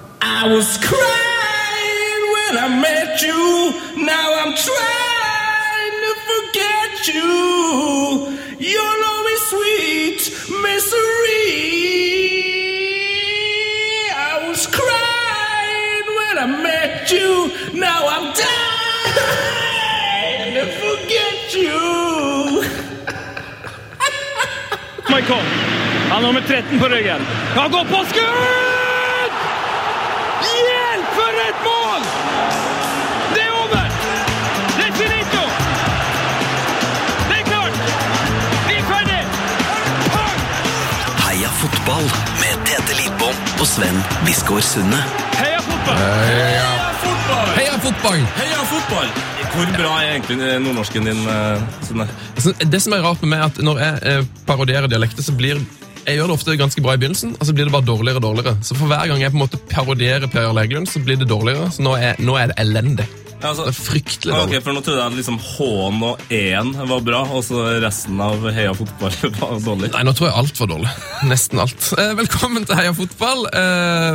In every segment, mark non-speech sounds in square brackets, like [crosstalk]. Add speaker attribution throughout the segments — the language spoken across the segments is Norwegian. Speaker 1: I was crying when I met you. Now I'm trying to forget you. You'll always sweet misery. I was crying when I met you. Now I'm dying to forget you.
Speaker 2: Michael. Han har nummer 13 på ryggen. Han går på skudd! Hjelp, for et mål! Det er over! Det er finito! Det er klart! Vi er ferdig!
Speaker 3: Heia fotball med Tete Lidbom og Sven Biskår Sunne.
Speaker 2: Heia fotball!
Speaker 4: Heia fotball!
Speaker 5: Heia fotball! Hvor bra er egentlig nordnorsken din, eh, Sunne?
Speaker 4: Så Altså, Det som er rart med meg, er at når jeg eh, parodierer dialekter, så blir jeg gjør det ofte ganske bra i begynnelsen, og så blir det bare dårligere og dårligere. Så for hver gang jeg på en måte parodierer Per Jarl Egelund, så blir det dårligere. Så nå er, nå er det elendig.
Speaker 5: Altså-
Speaker 4: Det er fryktelig
Speaker 5: Ah,
Speaker 4: dårlig.
Speaker 5: ok, for Nå trodde jeg at liksom H-en og E-en var bra, og så resten av heia fotball [laughs] var dårlig.
Speaker 4: Nei, nå tror jeg alt var dårlig. [laughs] Nesten alt. Eh, velkommen til Heia fotball. Eh,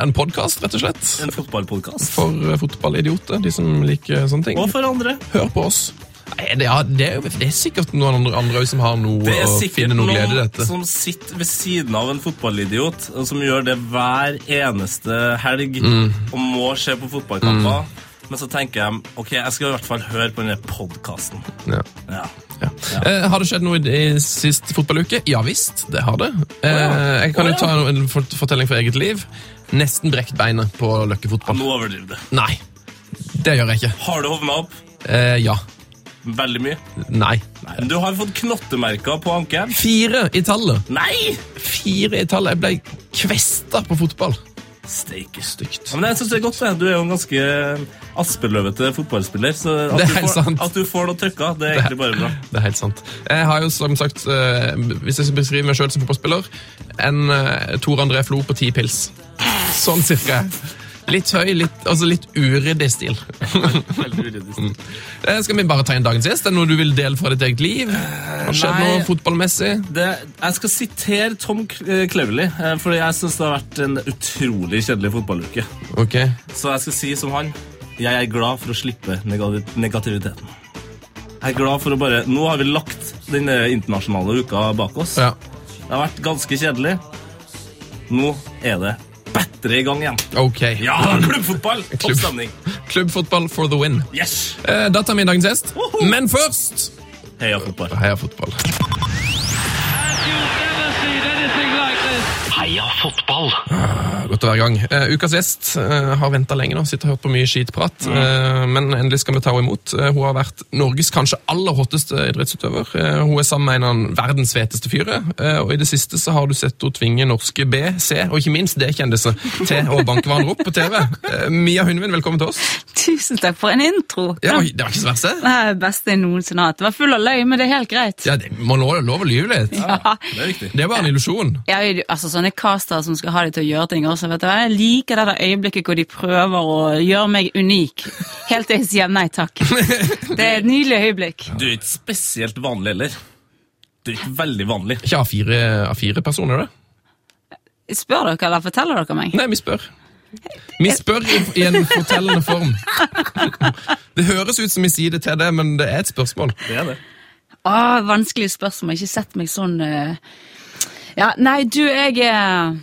Speaker 4: en podkast, rett og slett.
Speaker 5: En fotballpodkast.
Speaker 4: For eh, fotballidioter, de som liker sånne ting.
Speaker 5: Og for andre.
Speaker 4: Hør på oss. Nei, det, ja, det, er, jo- det er sikkert noen andre, andre også som har noe
Speaker 5: Det er
Speaker 4: å
Speaker 5: sikkert
Speaker 4: finne noe glede i
Speaker 5: noen
Speaker 4: dette.
Speaker 5: som sitter ved siden av en fotballidiot, og som gjør det hver eneste helg
Speaker 4: Mm.
Speaker 5: og må se på fotballkamper. Men så tenker jeg ok, jeg skal i hvert fall høre på denne podkasten.
Speaker 4: Ja.
Speaker 5: Ja.
Speaker 4: Ja. Eh, har det skjedd noe i, i sist fotballuke? Ja visst, det har det. Eh, Jeg kan
Speaker 5: Å,
Speaker 4: jo
Speaker 5: ja.
Speaker 4: ta en, en fort- fortelling fra eget liv. Nesten brekt beinet på Løkke fotball.
Speaker 5: Nå overdriver du.
Speaker 4: Nei, det gjør jeg ikke.
Speaker 5: Har du hovna opp?
Speaker 4: Eh, ja.
Speaker 5: Veldig mye.
Speaker 4: Nei.
Speaker 5: Men Du har fått knottemerker på ankelen.
Speaker 4: Fire i tallet.
Speaker 5: Nei!
Speaker 4: Fire i tallet. Jeg ble kvesta på fotball.
Speaker 5: Steike.
Speaker 4: Stygt.
Speaker 5: Ja, men jeg synes det er godt, det. Du er jo en ganske aspeløvete fotballspiller, så at,
Speaker 4: Det er
Speaker 5: du,
Speaker 4: helt
Speaker 5: får,
Speaker 4: sant.
Speaker 5: at du får noe trøkka, det er egentlig bare bra.
Speaker 4: Det er helt sant. Jeg har jo som sagt, eh, hvis jeg skal beskrive meg sjøl som fotballspiller, en eh, Tor André Flo på ti pils. Sånn cirka. Litt høy, litt, altså litt uryddig stil. Eh, Skal vi bare ta inn dagens gjest? Er det noe du vil dele fra ditt eget liv? Har det skjedd
Speaker 5: Nei.
Speaker 4: noe fotballmessig?
Speaker 5: Det, jeg skal sitere Tom K- eh, Cleverly, eh, fordi jeg synes det har vært en utrolig kjedelig fotballuke.
Speaker 4: Ok.
Speaker 5: Så jeg skal si som han, jeg er glad for å slippe nega- negativiteten. Jeg er glad for å bare, nå har vi lagt den eh, internasjonale uka bak oss.
Speaker 4: Ja.
Speaker 5: Det har vært ganske kjedelig. Nå er det bedre i gang igjen.
Speaker 4: Ok.
Speaker 5: Ja, klubbfotball!
Speaker 4: Klubb-
Speaker 5: Toppstemning.
Speaker 4: Klubbfotball for the win.
Speaker 5: Yes!
Speaker 4: Eh, Da tar vi inn dagens gjest. Men først
Speaker 5: Heia fotball.
Speaker 4: Heia fotball.
Speaker 2: As you've never seen anything like this.
Speaker 3: Heia fotball!
Speaker 4: Godt å være i gang. Eh, ukas gjest eh, har venta lenge nå, sitter og hørt på mye skitprat. eh, men endelig skal vi ta henne imot. Eh, hun har vært Norges kanskje aller hotteste idrettsutøver. Eh, hun er sammen med en av verdens feteste fyre. eh, og i det siste så har du sett henne tvinge norske B, C og ikke minst D-kjendiser til å banke hverandre opp på TV. Eh, Mia Hundvin, velkommen til oss.
Speaker 6: Tusen takk for en intro.
Speaker 4: Ja, oi,
Speaker 6: Den
Speaker 4: det var ikke så verst, det.
Speaker 6: er det beste jeg noensinne har hatt. Det var full av løgn, men det er helt greit.
Speaker 4: Ja, det må lov, lov å lyve litt.
Speaker 6: [laughs] Ja.
Speaker 5: Det er viktig.
Speaker 4: Det var en illusjon.
Speaker 6: Jeg er jo- altså Sånne castere som skal ha deg til å gjøre ting også, vet du hva. Jeg liker det der øyeblikket hvor de prøver å gjøre meg unik. Helt til jeg sier nei takk.
Speaker 4: [laughs]
Speaker 6: Det er et nydelig øyeblikk.
Speaker 5: Du er ikke spesielt vanlig heller. Du er ikke veldig vanlig.
Speaker 4: Ikke A4, A4 personer, det.
Speaker 6: Spør dere, eller forteller dere meg?
Speaker 4: Nei, vi spør. Vi spør i, i en fortellende form. Det høres ut som vi sier det til deg, men det er et spørsmål.
Speaker 5: Det er det.
Speaker 6: Åh, vanskelig spørsmål. Ikke sett meg sånn eh. Ja, nei, du, jeg er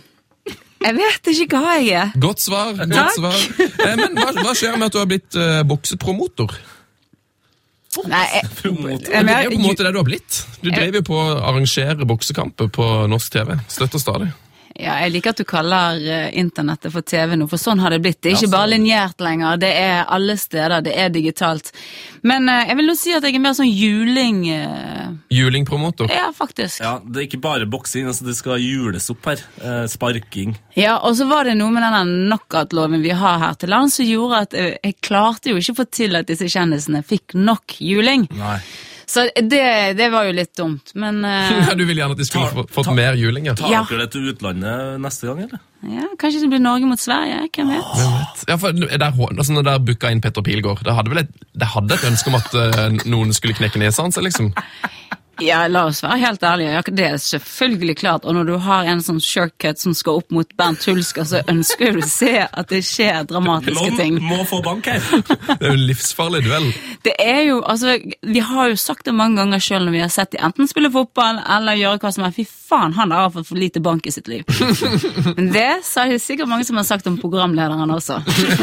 Speaker 6: Jeg vet ikke hva jeg er.
Speaker 4: Godt svar. godt
Speaker 6: Takk.
Speaker 4: svar. Eh, Men hva, hva skjer med at du har blitt eh, boksepromotor?
Speaker 6: Nei, jeg,
Speaker 5: Promotor.
Speaker 4: Det
Speaker 6: jeg,
Speaker 4: er jo på en
Speaker 6: jeg,
Speaker 4: måte det du har blitt. Du drev jo på å arrangere boksekamper på norsk TV. Støtter stadig.
Speaker 6: Ja, jeg liker at du kaller eh, internettet for TV nå, for sånn har det blitt. Det er ikke bare lineært lenger, det er alle steder, det er digitalt. Men eh, jeg vil nå si at jeg er mer sånn juling eh,
Speaker 4: Julingpromotor.
Speaker 6: Ja, faktisk. Ja,
Speaker 5: Ja, det er ikke bare boksing. Altså det skal jules opp her. Eh, sparking.
Speaker 6: og så var det noe med denne knockout-loven vi har her til land som gjorde at eh, jeg klarte jo ikke å få til at disse kjendisene fikk nok juling.
Speaker 5: Nei.
Speaker 6: Så det, det var jo litt dumt, men
Speaker 4: [laughs]
Speaker 6: eh,
Speaker 4: Ja, du ville gjerne at de skulle
Speaker 5: Ta-
Speaker 4: få- fått
Speaker 5: ta-
Speaker 4: mer juling, ja.
Speaker 5: Tar
Speaker 6: Ja.
Speaker 5: dere det til utlandet neste gang, eller?
Speaker 6: ja, kanskje det blir Norge mot Sverige, hvem vet?
Speaker 4: Hvem vet? Ja, for der, altså når der booka inn Petter Pilgaard, det hadde vel et, det hadde et ønske om at eh, noen skulle knekke nesa hans, liksom?
Speaker 6: Ja, la oss være helt ærlige. Ja, Det er selvfølgelig klart. Og når du har en sånn shortcut som skal opp mot Bernt Hulsker, så ønsker du å se at det skjer dramatiske ting.
Speaker 5: Lom må få bank her.
Speaker 4: Det er jo en livsfarlig duell.
Speaker 6: Det er jo, altså, Vi har jo sagt det mange ganger sjøl når vi har sett de enten spille fotball eller gjøre hva som er. Fy faen, han har fått for lite bank i sitt liv. Men det sa det sikkert mange som har sagt om programlederen også. [laughs]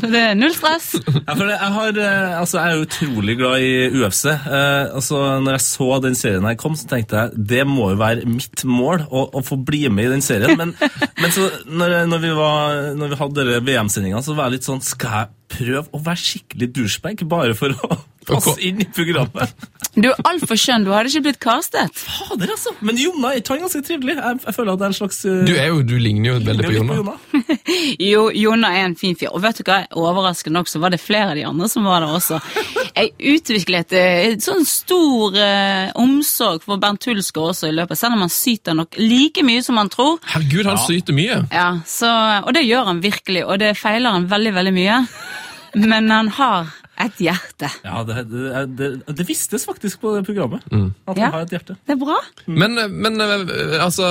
Speaker 6: Så det er null stress.
Speaker 5: Ja, for det- jeg, har, eh, altså, jeg er jo utrolig glad i UFC. Eh, altså, når jeg så den serien her kom, så tenkte jeg det må jo være mitt mål å, å få bli med i den serien.
Speaker 4: [laughs]
Speaker 5: Men, men så, når, jeg- når, vi var, når vi hadde VM-sendinga, så var jeg litt sånn Skal jeg prøve å være skikkelig douchebag bare for å passe
Speaker 4: Ok.
Speaker 5: inn i
Speaker 4: [laughs]
Speaker 5: programmet?
Speaker 6: Du er altfor skjønn. Du hadde ikke blitt castet.
Speaker 5: Fader, altså! Men Jonna er han er ganske trivelig. Jeg, jeg føler at det er en slags eh,
Speaker 4: Du, er jo, du ligner jo veldig på
Speaker 5: litt
Speaker 4: Jonna.
Speaker 6: Jo, Jonna er en fin fyr. Og vet du hva, overraskende nok så var det flere av de andre som var der også. Jeg utviklet eh, en sånn stor eh, omsorg for Bernt Hulsker også i løpet, selv om han syter nok like mye som han tror.
Speaker 4: Herregud, han syter mye.
Speaker 6: Ja, så, Og det gjør han virkelig, og det feiler han veldig, veldig mye. Men han har et hjerte.
Speaker 5: Ja, det, det, det, det vistes faktisk på det programmet
Speaker 4: Mm.
Speaker 5: at han
Speaker 6: Ja.
Speaker 5: har et hjerte.
Speaker 6: Det er bra.
Speaker 4: Men, men eh, altså,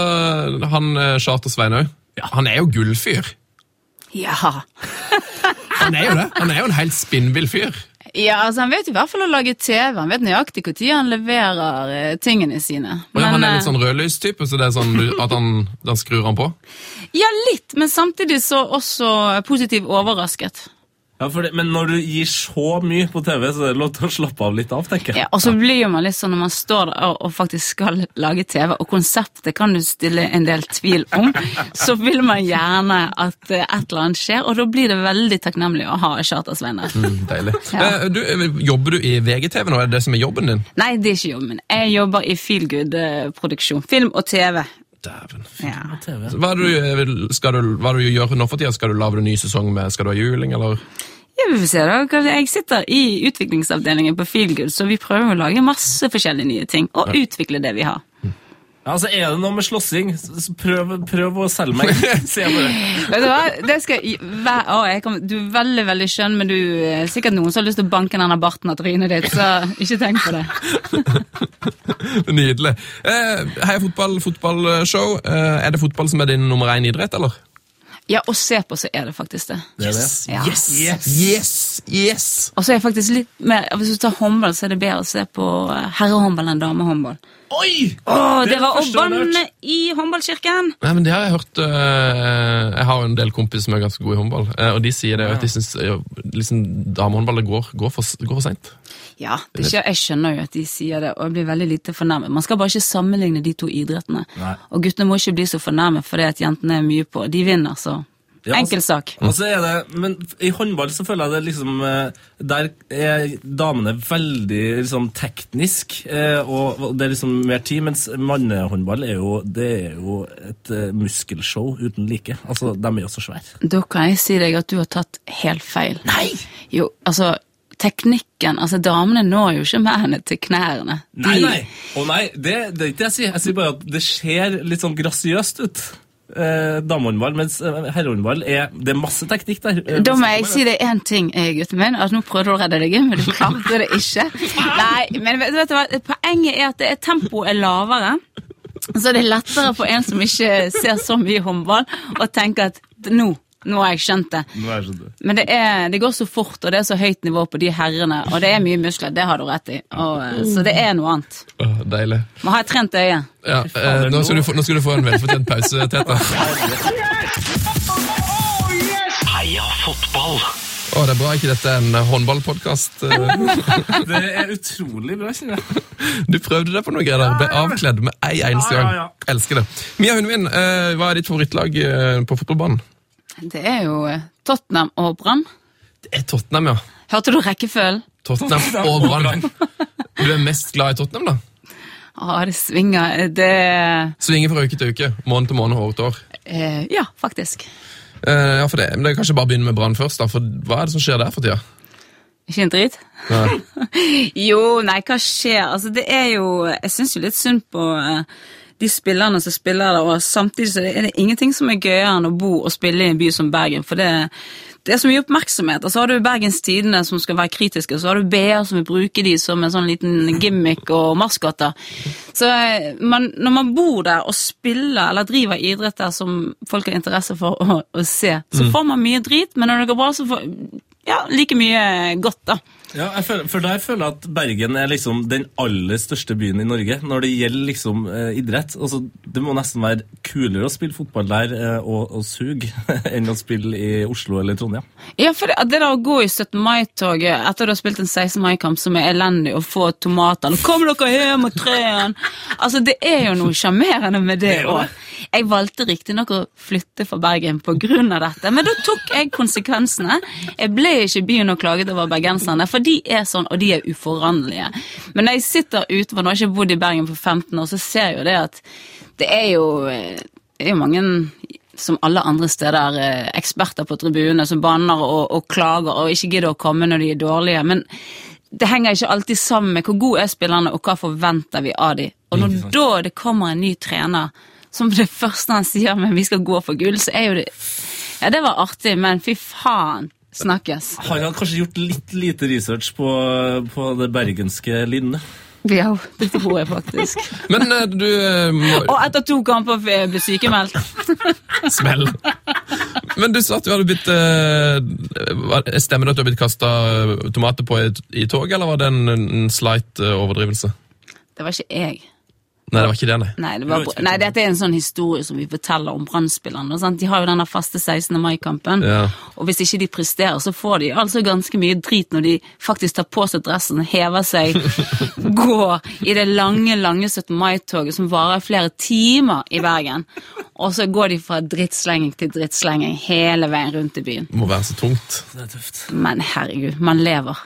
Speaker 4: han eh, Charter-Svein òg. Han er jo gullfyr.
Speaker 6: Ja.
Speaker 4: Han er jo det. Han er jo en helt spinnvill fyr.
Speaker 6: ja, altså Han vet i hvert fall å lage TV. Han vet nøyaktig når han leverer eh, tingene sine.
Speaker 4: Og ja, han er
Speaker 6: eh,
Speaker 4: litt sånn rødlystype, så det er sånn du- at han, da skrur han på.
Speaker 6: Ja, litt, men samtidig så også positivt overrasket.
Speaker 5: Ja, for det, Men når du gir så mye på TV, så er det lov til å slappe av litt av, tenker jeg.
Speaker 6: Ja, og så blir jo man litt sånn når man står der og, og faktisk skal lage TV, og konseptet kan du stille en del tvil om, så vil man gjerne at eh, et eller annet skjer, og da blir det veldig takknemlig å ha chartersvein der.
Speaker 4: Deilig.
Speaker 6: Ja.
Speaker 4: Eh, Du, eh, jobber du i VGTV nå? Er det det som er jobben din?
Speaker 6: Nei, det er ikke jobben min. Jeg jobber i Feelgood-produksjon. Film og TV.
Speaker 4: Dæven.
Speaker 6: Ja.
Speaker 5: TV.
Speaker 4: Hva er det du, eh, vil- skal du, hva er det du gjør nå for tida? Skal du lage en ny sesong med Skal du ha juling, eller?
Speaker 6: Ja, vi får se da. Kanskje- Jeg sitter i utviklingsavdelingen på Feelgood, så vi prøver å lage masse forskjellige nye ting, og utvikle det vi har.
Speaker 5: Ja, altså Er det noe med slåssing, så- så prøv, prøv å selge
Speaker 6: [laughs]
Speaker 5: meg. [laughs] Se på det.
Speaker 6: Vet du hva? Det skal jeg, hver, å, jeg kommer- du er veldig veldig skjønn, men du er sikkert noen som har lyst til å banke denne barten av trynet ditt, så ikke tenk på det.
Speaker 4: [laughs] Nydelig. Eh, Heia fotball, fotballshow. Eh, Er det fotball som er din nummer én idrett, eller?
Speaker 6: Ja, og se på, så er det faktisk det.
Speaker 5: det er det.
Speaker 6: Ja.
Speaker 4: Yes! Yes!
Speaker 6: Og så er jeg faktisk litt mer, Hvis du tar håndball, så er det bedre å se på eh, herrehåndball enn damehåndball.
Speaker 5: Oi!
Speaker 6: Å, det,
Speaker 5: Det er
Speaker 6: var
Speaker 5: det første jeg har
Speaker 6: Obban i håndballkirken!
Speaker 4: Nei, men det har jeg hørt eh, Jeg har jo en del kompiser som er ganske gode i håndball, eh, og de sier det at de syns liksom, damehåndballet går, går for, går for seint.
Speaker 6: Ja, det skjer, Jeg skjønner jo at de sier det, og jeg blir veldig lite fornærmet. Man skal bare ikke sammenligne de to idrettene.
Speaker 5: Nei.
Speaker 6: Og guttene må ikke bli så fornærmet fordi at jentene er mye på. De vinner, så.
Speaker 5: Ja, altså-
Speaker 6: Enkel sak.
Speaker 5: Og så er det, Men i håndball så føler jeg det liksom eh, Der er damene veldig liksom, teknisk, eh, og og det er liksom mer tid. Mens mannehåndball er jo Det er jo et eh, muskelshow uten like. Altså, De er jo så svære.
Speaker 6: Da kan jeg si deg at du har tatt helt feil. Nei! Jo, altså, teknikken Altså, damene når jo ikke mennene til knærne. De-
Speaker 5: Nei, nei. Å nei, det, det er ikke det jeg sier. Jeg sier bare at det ser litt sånn grasiøst ut. Eh, Damehåndball, mens eh, herrehåndball er Det er masse teknikk der. Eh,
Speaker 6: Da må jeg si deg én ting, eh, gutten min. at Nå prøvde du å redde deg inn, men du klarte det ikke. Nei, men vet, vet du hva? Poenget er at det er- tempoet er lavere. Så det er lettere for en som ikke ser så mye håndball, å tenke at nå, nå har jeg skjønt det.
Speaker 5: Nå er jeg skjønt det.
Speaker 6: Men det, er, det går så fort, og det er så høyt nivå på de herrene. Og det er mye muskler, det har du rett i. Og, eh, så det er noe annet.
Speaker 4: Åh, deilig.
Speaker 6: Må ha et trent øye.
Speaker 4: Ja, eh, nå, skal du få, nå skal du få en velfortjent pause,
Speaker 5: [laughs]
Speaker 4: Teta.
Speaker 5: Oh,
Speaker 3: Heia fotball!
Speaker 4: Å, det er bra ikke dette er en eh, håndballpodkast.
Speaker 5: [laughs] Det er utrolig bra, kjenner jeg.
Speaker 4: Du prøvde deg på noe greier der. Ble avkledd med ei eneste
Speaker 5: Ja,
Speaker 4: gang.
Speaker 5: ja, ja.
Speaker 4: Elsker det. Mia Hundvin, eh, hva er ditt favorittlag eh, på fotballbanen?
Speaker 6: Det er jo eh, Tottenham og Brann.
Speaker 4: Det er Tottenham, ja.
Speaker 6: Hørte du rekkefølgen?
Speaker 4: Tottenham og Brann. Du er mest glad i Tottenham, da?
Speaker 6: Å, det svinger. Det
Speaker 4: Svinger fra uke til uke. Måned til måned, år til år.
Speaker 6: eh, Ja, faktisk.
Speaker 4: Eh, ja, for det, men det er Kanskje bare begynne med Brann først. da, for Hva er det som skjer der for tida?
Speaker 6: Ikke en drit?
Speaker 4: Nei.
Speaker 6: [laughs] Jo, nei, hva skjer? Altså, det er jo Jeg syns jo litt synd på eh, de spillerne som spiller der, og samtidig så er det ingenting som er gøyere enn å bo og spille i en by som Bergen, for det, Det er så mye oppmerksomhet. Og så har du Bergens Tidende som skal være kritiske, og så har du BA som vil bruke de som en sånn liten gimmick og maskotter. Så eh, man, når man bor der og spiller eller driver idrett der som folk har interesse for å, å se, så får man mye drit, men når det går bra, så får ja, like mye godt, da.
Speaker 5: Ja, jeg føler, for der føler jeg at Bergen er liksom den aller største byen i Norge når det gjelder liksom eh, idrett. Altså, det må nesten være kulere å spille fotball der eh, og, og suge [laughs] enn å spille i Oslo eller Trondheim.
Speaker 6: Ja, for det, det der å gå i 17. mai-toget etter du har spilt en 16. mai-kamp som er elendig, og få tomatene 'Kom dere hjem og tren!' Altså, det er jo noe sjarmerende med det òg. Jeg valgte riktignok å flytte fra Bergen pga. dette, men da tok jeg konsekvensene. Jeg ble ikke i byen og klaget over bergenserne, for de er sånn, og de er uforanderlige. Men når jeg sitter ute, for nå har jeg ikke bodd i Bergen på 15 år, så ser jeg jo det at det er jo, eh, det er jo mange som alle andre steder, eh, eksperter på tribunene som banner og, og klager og ikke gidder å komme når de er dårlige. Men det henger ikke alltid sammen med hvor gode er spillerne, og hva forventer vi av dem. Og når da det kommer en ny trener, som det [laughs] første han sier, men vi skal gå for gull, så er jo det Ja, det var artig, men fy faen. Snakkes.
Speaker 5: Har han kanskje gjort litt lite research på, på det bergenske lynnet?
Speaker 6: Ja, [laughs] det tror jeg faktisk.
Speaker 4: Men eh, du eh,
Speaker 6: [laughs]
Speaker 4: må
Speaker 6: Og etter to kamper eh, ble sykemeldt.
Speaker 4: Smell. Men du sa at du hadde blitt eh, var- Stemmer det at du har blitt kasta tomater på i, i toget, eller var det en, en slight eh, overdrivelse?
Speaker 6: Det var ikke jeg.
Speaker 4: Nei, det var ikke det, nei.
Speaker 6: Nei, det var,
Speaker 5: Det var ikke
Speaker 6: nei, dette er en sånn historie som vi forteller om brannspillerne. sant? De har jo den der faste 16. mai-kampen,
Speaker 4: Ja.
Speaker 6: og hvis ikke de presterer, så får de altså ganske mye drit når de faktisk tar på seg dressen, hever seg, går i det lange, lange 17. mai-toget som varer flere timer i Bergen. Og så går de fra drittslenging til drittslenging hele veien rundt i byen.
Speaker 4: Det må være så tungt.
Speaker 5: Det er tøft.
Speaker 6: Men herregud, man lever.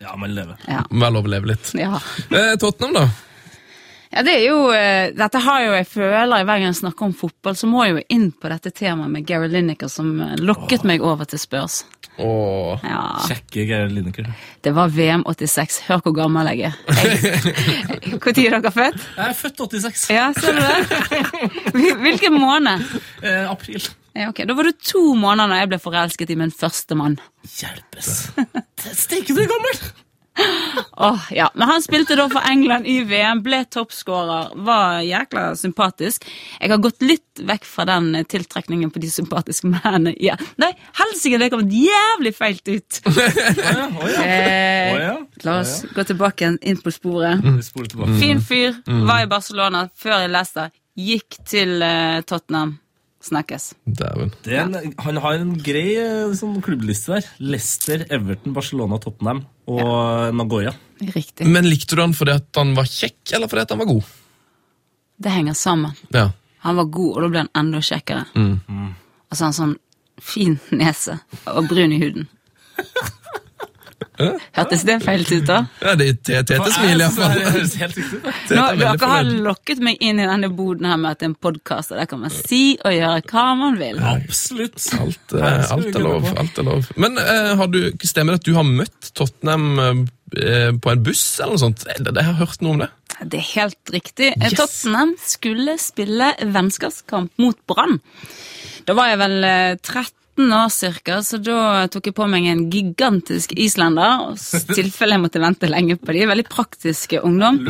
Speaker 5: Ja, man lever.
Speaker 6: Ja.
Speaker 4: Det må være lov å leve litt.
Speaker 6: ja.
Speaker 4: Eh, Tottenham, da?
Speaker 6: Ja, det er jo, eh, dette har jo jeg føler hver gang jeg snakker om fotball, så må jeg jo inn på dette temaet med Gary Lineker som eh, lokket meg over til Spurs.
Speaker 4: Åh.
Speaker 6: Ja,
Speaker 5: Kjekke Geir Lineker.
Speaker 6: det var VM 86. Hør hvor gammel jeg er. Jeg- [laughs] Hvor tid er dere født?
Speaker 5: Jeg er født 86.
Speaker 6: Ja, ser du det? [laughs] Hvil- Hvilken måned?
Speaker 5: Eh, april.
Speaker 6: Ja, ok, Da var det to måneder da jeg ble forelsket i min første mann.
Speaker 5: Hjelpes. Steike, du er gammel!
Speaker 6: Åh, ja. Men han spilte da for England i VM, ble toppskårer, var jækla sympatisk. Jeg har gått litt vekk fra den eh, tiltrekningen på de sympatiske mennene. Ja. Nei, helsike, det kom jævlig feilt ut!
Speaker 5: Ja, å ja.
Speaker 6: Eh,
Speaker 5: Å ja. Mhm.
Speaker 6: La oss gå tilbake igjen, inn på sporet.
Speaker 5: Vi spoler tilbake.
Speaker 6: Fin fyr,
Speaker 5: Mhm.
Speaker 6: var i Barcelona før jeg leste, gikk til eh, Tottenham. Snakkes.
Speaker 4: Dæven.
Speaker 5: Det er en, han har en grei eh, sånn, klubbliste der. Leicester, Everton, Barcelona, Tottenham og Nagoya.
Speaker 6: Riktig.
Speaker 4: Men likte du han fordi at han var kjekk, eller fordi at han var god?
Speaker 6: Det henger sammen.
Speaker 4: Ja.
Speaker 6: Han var god, og da ble han enda kjekkere.
Speaker 4: Mm.
Speaker 6: Og så har han sånn fin nese og brun i huden. Hørtes det feil ut, da?
Speaker 4: ja det er Tete
Speaker 5: Det
Speaker 4: smiler, iallfall. [laughs]
Speaker 5: høres helt riktig ut.
Speaker 6: Nå,
Speaker 4: er veldig
Speaker 6: dere har
Speaker 4: fornøyd.
Speaker 6: lokket meg inn i denne boden her med at det er en podkast, og der kan man si og gjøre hva man vil.
Speaker 5: Absolutt.
Speaker 4: Alt, eh,
Speaker 5: Nei, det skal vi
Speaker 4: alt, er
Speaker 5: kunne
Speaker 4: lov,
Speaker 5: på.
Speaker 4: alt er lov. Men eh, har du, stemmer det at du har møtt Tottenham eh, på en buss eller noe sånt? Eh, det- Jeg har hørt noe om det.
Speaker 6: Det er helt riktig. Eh,
Speaker 4: Yes.
Speaker 6: Tottenham skulle spille vennskapskamp mot Brann. Da var jeg vel eh, 13 år cirka, så da tok jeg på meg en gigantisk islender, og s- tilfelle jeg måtte vente lenge på de. Veldig praktiske ungdom.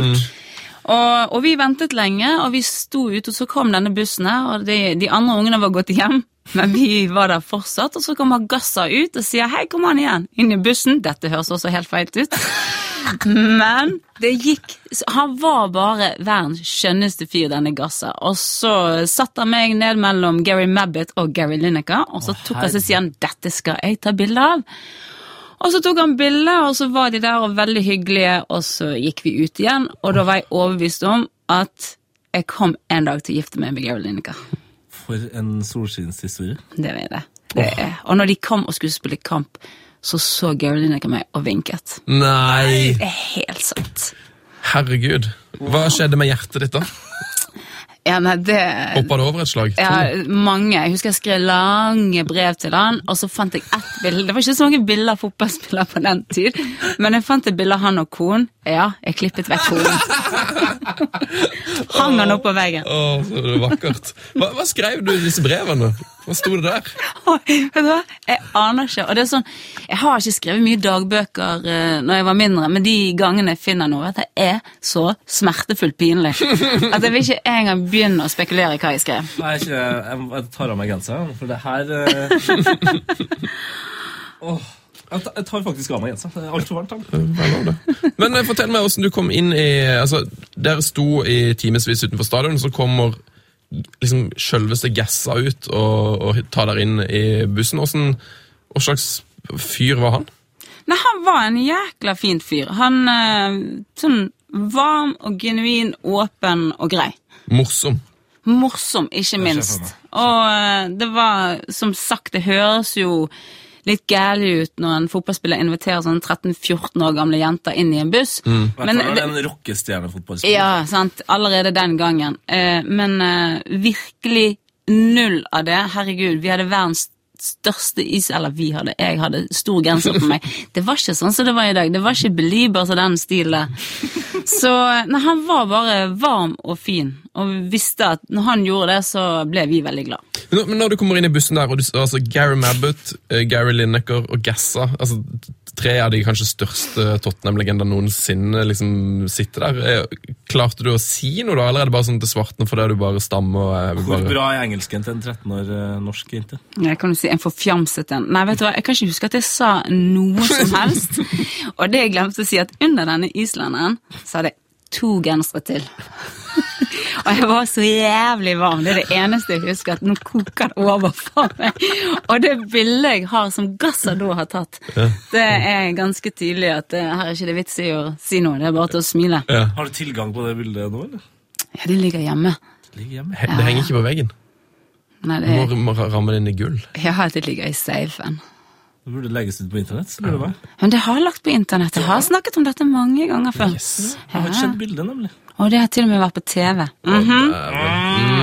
Speaker 6: Og, og vi ventet lenge, og vi sto ute, og så kom denne bussen her, og de, de andre ungene var gått hjem. Men vi var der fortsatt, og så kommer Gassa ut og sier 'hei, kom an igjen'. Inn i bussen. Dette høres også helt feil ut. Men det gikk så Han var bare verdens skjønneste fyr, denne Gassa. Og så satte han meg ned mellom Gary Mabbit og Gary Lineker, og så tok han seg siden 'dette skal jeg ta bilde av'. Og så tok han bilde, og så var de der og veldig hyggelige, og så gikk vi ut igjen. Og da var jeg overbevist om at jeg kom en dag til å gifte meg med Gary Lineker.
Speaker 5: For en solskinnshistorie.
Speaker 6: Det var det. det er. Og når de kom og skulle spille kamp, så så Gary Lineker meg og vinket.
Speaker 4: Nei!
Speaker 6: Det er helt sant.
Speaker 4: Herregud. Hva skjedde med hjertet ditt, da?
Speaker 6: Ja, nei, det
Speaker 4: Hoppa det over et slag?
Speaker 6: Ja,
Speaker 4: To?
Speaker 6: mange. Jeg husker jeg skrev lange brev til han, og så fant jeg ett bilde. Det var ikke så mange bilder av fotballspillere på den tid, men jeg fant et bilde av han og konen. Ja, jeg klippet vekk konen. Hang han opp på veggen.
Speaker 4: Å, så det var vakkert. Hva, hva skrev du i disse brevene? Hva sto det der?
Speaker 6: Oi, Vet du hva? Jeg aner ikke. Og det er sånn, jeg har ikke skrevet mye dagbøker uh, når jeg var mindre, men de gangene jeg finner noe, vet du, det er så smertefullt pinlig at jeg vil ikke engang begynne å spekulere i hva jeg skrev.
Speaker 5: Nei, ikke, jeg, jeg tar av meg genseren, for det her eh, [laughs] Åh, jeg, ta- jeg tar faktisk av meg genseren. Det er altfor varmt her.
Speaker 4: Jeg lover det. Men eh, fortell meg hvordan du kom inn i altså, Dere sto i timevis utenfor stadion, så kommer liksom selveste Gassa ut og, og tar dere inn i bussen. Hvordan, hva slags fyr var han?
Speaker 6: Nei, han var en jækla fin fyr. Han eh, sånn varm og genuin, åpen og grei.
Speaker 4: Morsom.
Speaker 6: Morsom, ikke minst. Og eh, det var, som sagt, det høres jo litt gærlig ut når en fotballspiller inviterer sånn 13-14 år gamle jenter inn i en buss.
Speaker 5: Men,
Speaker 6: Men
Speaker 5: det
Speaker 6: det,
Speaker 5: er en rockestjernefotballspiller.
Speaker 6: ja, sant. Allerede den gangen. Eh, men eh, virkelig null av det. Herregud, vi hadde verdens største is, eller vi hadde, jeg hadde stor genser på meg. Det var ikke sånn som det var i dag. Det var ikke Belieber til den stilen. Så eh, nei, han var bare varm og fin, og vi visste at når han gjorde det, så ble vi veldig glad.
Speaker 4: Men når- men når du kommer inn i bussen der, og du, altså Gary Mabbott, eh, Gary Lineker og Gassa altså Tre av de kanskje største Tottenham-legendene noensinne liksom sitter der. Eh, Klarte du å si noe da, eller er det bare sånn til svarten fordi du bare stammer? og jeg vil
Speaker 5: Hvor
Speaker 4: bare...
Speaker 5: bra er engelsken til en 13 år eh, norsk jente?
Speaker 6: Jeg kan jo si en forfjamset en. Nei, vet du hva, jeg kan ikke huske at jeg sa noe som helst. Og det jeg glemte å si, at under denne islenderen så hadde jeg to gensere til. Og jeg var så jævlig varm. Det er det eneste jeg husker, at nå koker det over for meg. Og det bildet jeg har som Gassa da har tatt, det er ganske tydelig at eh, her er ikke det vits i å si noe, det er bare til å smile.
Speaker 5: Har du tilgang på det bildet nå, eller?
Speaker 6: Ja, det ligger hjemme.
Speaker 5: Ligger hjemme.
Speaker 4: He- Det henger ikke på veggen.
Speaker 6: Nei,
Speaker 4: Du
Speaker 6: det
Speaker 4: må, må ramme det inn i gull.
Speaker 6: jeg har at det ligger i safen.
Speaker 5: Det burde legges ut på internett. så lurer jeg meg.
Speaker 6: Men det har jeg lagt på internett. Jeg har snakket om dette mange ganger før.
Speaker 5: Jeg har ikke sett bildet, nemlig.
Speaker 6: Og det har til og med vært på TV. Mhm.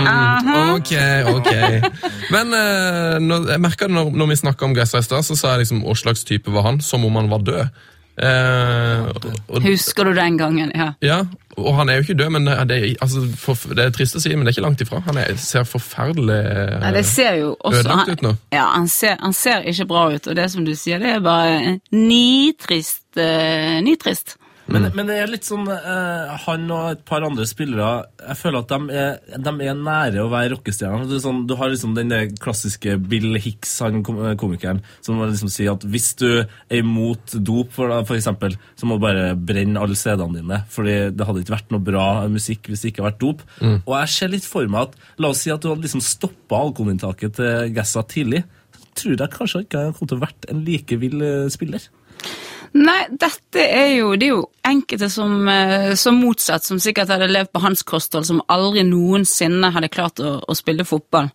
Speaker 4: Mm. Ok, ok. Men eh, når, jeg merket det når, når vi snakket om Gassa i stad, så sa jeg liksom hva slags type var han, som om han var død. Eh, og,
Speaker 6: Husker du den gangen? Ja.
Speaker 4: ja, og han er jo ikke død, men det, det- altså, for, det er trist å si, men det er ikke langt ifra. Han er, ser forferdelig
Speaker 6: Nei, det ser jo også
Speaker 4: Ødelagt ut nå.
Speaker 6: Han, ja, han ser, han ser ikke bra ut, og det som du sier, det er bare nitrist. eh, nitrist.
Speaker 5: Men, men det er litt sånn eh, Han og et par andre spillere Jeg føler at de er, de er nære å være rockestjerner. Det er Sånn, du har liksom den der klassiske Bill Hicks, han kom, eh, komikeren, som liksom sier at hvis du er imot dop, for, for eksempel, så må du bare brenne alle CD-ene dine. Fordi det hadde ikke vært noe bra musikk hvis det ikke hadde vært dop. Og jeg ser litt for meg at La oss si at du hadde liksom stoppa alkoholinntaket til Gassa tidlig. Så tror jeg kanskje ikke han kom til å vært en like vill eh, spiller.
Speaker 6: Nei, dette er jo Det er jo enkelte som, eh, som motsatt, som sikkert hadde levd på hans kosthold, som aldri noensinne hadde klart å, å spille fotball.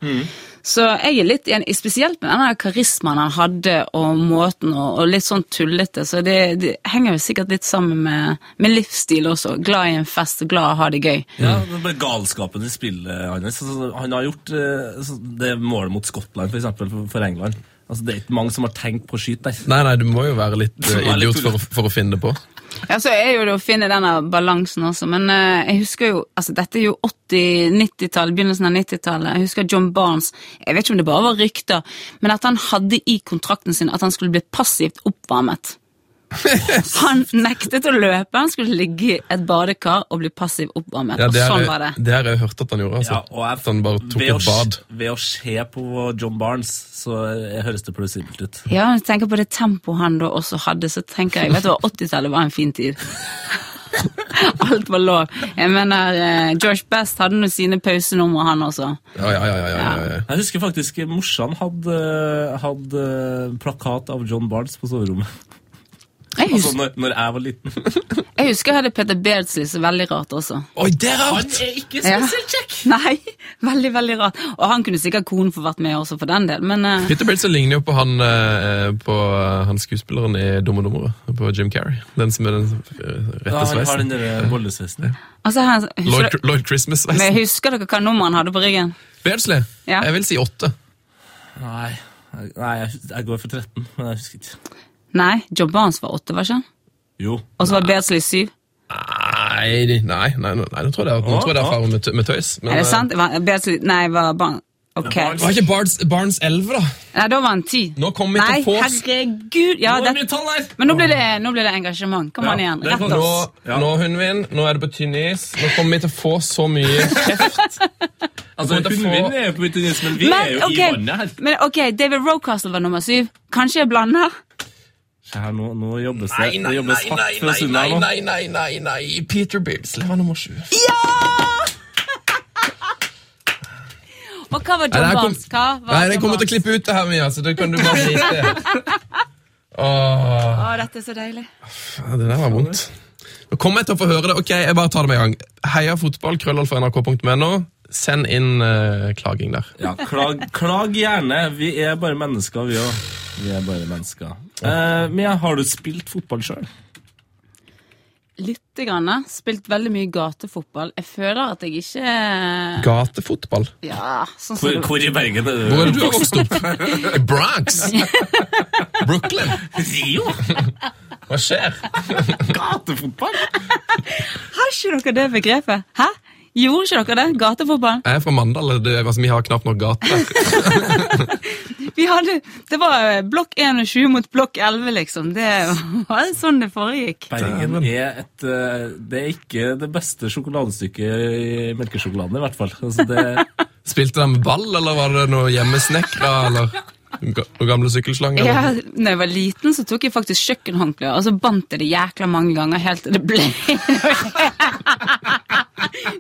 Speaker 6: Så jeg er litt enig, spesielt med denne karismaen han hadde, og måten, og, og litt sånn tullete, så det, det henger jo sikkert litt sammen med, med livsstil også. Glad i en fest, og glad i å ha det gøy.
Speaker 5: Ja,
Speaker 4: Mm.
Speaker 5: det ble galskapen i spillet hans. Altså, han har gjort eh, så det målet mot Skottland, for eksempel, for- for England. Altså, det er ikke mange som har tenkt på å skyte der.
Speaker 4: Nei, nei, du må jo være litt eh,
Speaker 5: Du må være litt
Speaker 4: idiot for, å- for å finne det på.
Speaker 6: Ja, så er jo det å finne denne balansen også, men eh, jeg husker jo altså Dette er jo 80-, 90-tall, begynnelsen av 90-tallet. Jeg husker John Barnes. Jeg vet ikke om det bare var rykter, men at han hadde i kontrakten sin at han skulle bli passivt
Speaker 4: [laughs]
Speaker 6: oppvarmet. Han nektet å løpe, han skulle ligge i et badekar og bli passivt oppvarmet.
Speaker 4: Ja, det
Speaker 6: og
Speaker 4: har
Speaker 6: sånn
Speaker 4: jeg-
Speaker 6: var det.
Speaker 4: det har jeg hørt at han gjorde. Altså.
Speaker 5: Ja, og jeg-
Speaker 4: at han bare tok
Speaker 5: ved å
Speaker 4: et bad.
Speaker 5: s- Ved å se på John Barnes, så eh, høres det plausibelt ut.
Speaker 6: Ja, når jeg tenker på det tempoet han da også hadde, så tenker jeg, vet du hva, 80-tallet var en fin
Speaker 4: [laughs]
Speaker 6: tid. Alt var lov. Jeg mener, eh, George Best hadde nå sine pausenumre, han også.
Speaker 4: Ja, ja, ja, ja, ja, ja, ja.
Speaker 5: Jeg husker faktisk eh, morsan hadde, hadde plakat av John Barnes på soverommet.
Speaker 6: Jeg
Speaker 5: Altså,
Speaker 6: husker,
Speaker 5: når, når jeg var liten.
Speaker 6: jeg husker jeg hadde Peter Beardsley så veldig rart også.
Speaker 4: Oi, det er rart!
Speaker 6: Ja. [laughs] Nei, veldig, veldig rart. Og han kunne sikkert konen få vært med også for den del, men eh,
Speaker 4: Peter Belzer ligner jo på han, eh, på han skuespilleren i Dumme dummere, på Jim Carrey. Den som er den eh,
Speaker 5: Ja, han
Speaker 4: rette
Speaker 5: har den
Speaker 4: sveisen.
Speaker 5: der eh, bollesveisen.
Speaker 6: altså, han,
Speaker 4: Lloyd,
Speaker 6: husker, dere-
Speaker 4: Lloyd
Speaker 6: men
Speaker 4: Christmas-sveisen.
Speaker 6: husker dere hva nummer han hadde på ryggen?
Speaker 4: Beardsley?
Speaker 6: Ja.
Speaker 4: Jeg vil si åtte.
Speaker 5: Nei, nei jeg, hus- jeg går for 13, men jeg husker ikke.
Speaker 6: Nei, jobben hans var åtte, var ikke han?
Speaker 5: Jo.
Speaker 6: Og så var Beardsley syv.
Speaker 4: Nei, nei, nei, nei, nei nå tror jeg det er, nå
Speaker 5: Å,
Speaker 4: tror jeg det
Speaker 5: å.
Speaker 4: er faren med, tø- med tøys. Men,
Speaker 6: Er det
Speaker 4: eh,
Speaker 6: sant? Var, Beardsley, nei, var barn. Ok.
Speaker 4: Var ikke Barnes, Barnes 11, da?
Speaker 6: Nei, da var han ti.
Speaker 4: Nå kommer vi
Speaker 6: Nei,
Speaker 4: til Fors.
Speaker 6: herregud!
Speaker 4: Nå
Speaker 6: Ja,
Speaker 4: er det
Speaker 6: det,
Speaker 4: mye tall her!
Speaker 6: men nå ble, det, nå ble det engasjement. Kom an igjen.
Speaker 5: det er
Speaker 6: Rett
Speaker 5: godt.
Speaker 4: Nå,
Speaker 6: oss.
Speaker 5: Ja.
Speaker 4: nå hundvin, nå er det på tynn is. Nå kommer vi til å få så mye kjeft.
Speaker 5: Altså,
Speaker 4: Kommer til å få-
Speaker 5: Hundvin er jo på utenriks, men vi er
Speaker 6: Men,
Speaker 5: jo i
Speaker 6: ok,
Speaker 5: vannet her.
Speaker 6: men ok, David Rocastle var nummer syv. Kanskje jeg blander?
Speaker 5: Se her, nå, nå jobbes det,
Speaker 4: [laughs] Nei, nei,
Speaker 5: det
Speaker 4: nei,
Speaker 5: jobbes
Speaker 4: nei,
Speaker 5: hardt fra
Speaker 4: nei,
Speaker 5: Sunna
Speaker 4: nei,
Speaker 5: nå.
Speaker 4: nei, nei, nei, nei. Peter Beardsley var nummer sju.
Speaker 6: Og hva var jobben hans? Hva var
Speaker 4: Nei, jeg kommer til å klippe ut det her mye, altså. Det kan du
Speaker 6: [laughs]
Speaker 4: bare drite i. Åh,
Speaker 6: Å, dette er så deilig.
Speaker 4: Det der var vondt. Nå kommer jeg til å få høre det. Ok, jeg bare tar det med en gang. Heia fotball, krøllalfa nrk.no. Send inn eh, klaging der.
Speaker 5: Ja, klag, klag gjerne. Vi er bare mennesker, vi òg. Vi er bare mennesker. Eh, Mia, har du spilt fotball sjøl?
Speaker 6: Lite grann. eh. Spilt veldig mye gatefotball. Jeg føler at jeg ikke eh,
Speaker 4: Gatefotball.
Speaker 6: Ja, sånn som
Speaker 5: Hvor,
Speaker 6: du
Speaker 5: hvor i Bergen er du?
Speaker 4: Hvor er det du har vokst opp? I Bronx? Brooklyn?
Speaker 5: Rio?
Speaker 4: Hva skjer?
Speaker 5: Gatefotball?
Speaker 6: Har ikke dere det begrepet? Hæ? Gjorde ikke dere det? Gatefotball?
Speaker 4: Jeg er fra Mandal. Det, altså, vi har knapt nok gater.
Speaker 6: Vi hadde, det var eh, blokk 21 mot blokk 11, liksom. Det [laughs] var sånn det foregikk.
Speaker 5: Bergen er et eh, Det er ikke det beste sjokoladestykket i melkesjokoladen, i hvert fall. Altså, det,
Speaker 4: Spilte de med ball, eller var det noe hjemmesnekra, eller ga- noen gamle sykkelslanger? eller?
Speaker 6: Jeg, når jeg var liten, så tok jeg faktisk kjøkkenhåndkleet, og så bandt jeg det jækla mange ganger helt til det ble [laughs]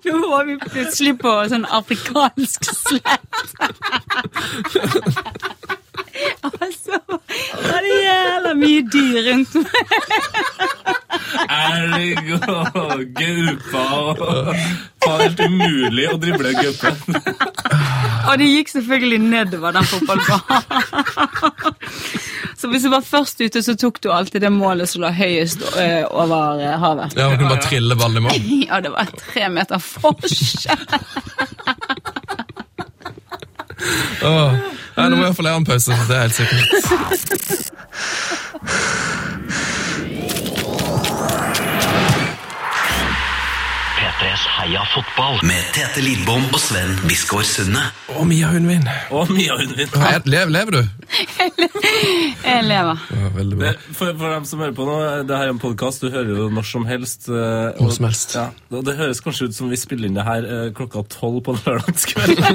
Speaker 6: Nå var vi plutselig på sånn afrikansk slett. [laughs] Altså, var det jævla mye dyr rundt meg.
Speaker 5: elg og gaupa og Det er helt umulig å drible gaupe.
Speaker 6: Og det gikk selvfølgelig nedover den fotballbanen. [laughs] så hvis du var først ute, så tok du alltid det målet som lå høyest eh, over eh, havet. [laughs]
Speaker 4: Ja, man kunne bare trille ball i mål.
Speaker 6: Ja, det var tre meter forskjell.
Speaker 4: Åh. Nei, nå må jeg iallfall ha en pause. Det er helt sikkert.
Speaker 3: P3s Heia fotball med Tete Lidbom og Sven Biskår Sunde.
Speaker 4: Å, Mia Hundvin.
Speaker 5: Og Mia Hundvin.
Speaker 4: Nei, Lev, lever du?
Speaker 6: Jeg lever.
Speaker 4: Ja, veldig bra.
Speaker 5: Det, for, for dem som hører på nå, det her er en podkast. Du hører jo når som helst. eh,
Speaker 4: Hvor
Speaker 5: og-
Speaker 4: som helst.
Speaker 5: Ja, og det høres kanskje ut som vi spiller inn det her eh, klokka tolv på en lørdagskveld.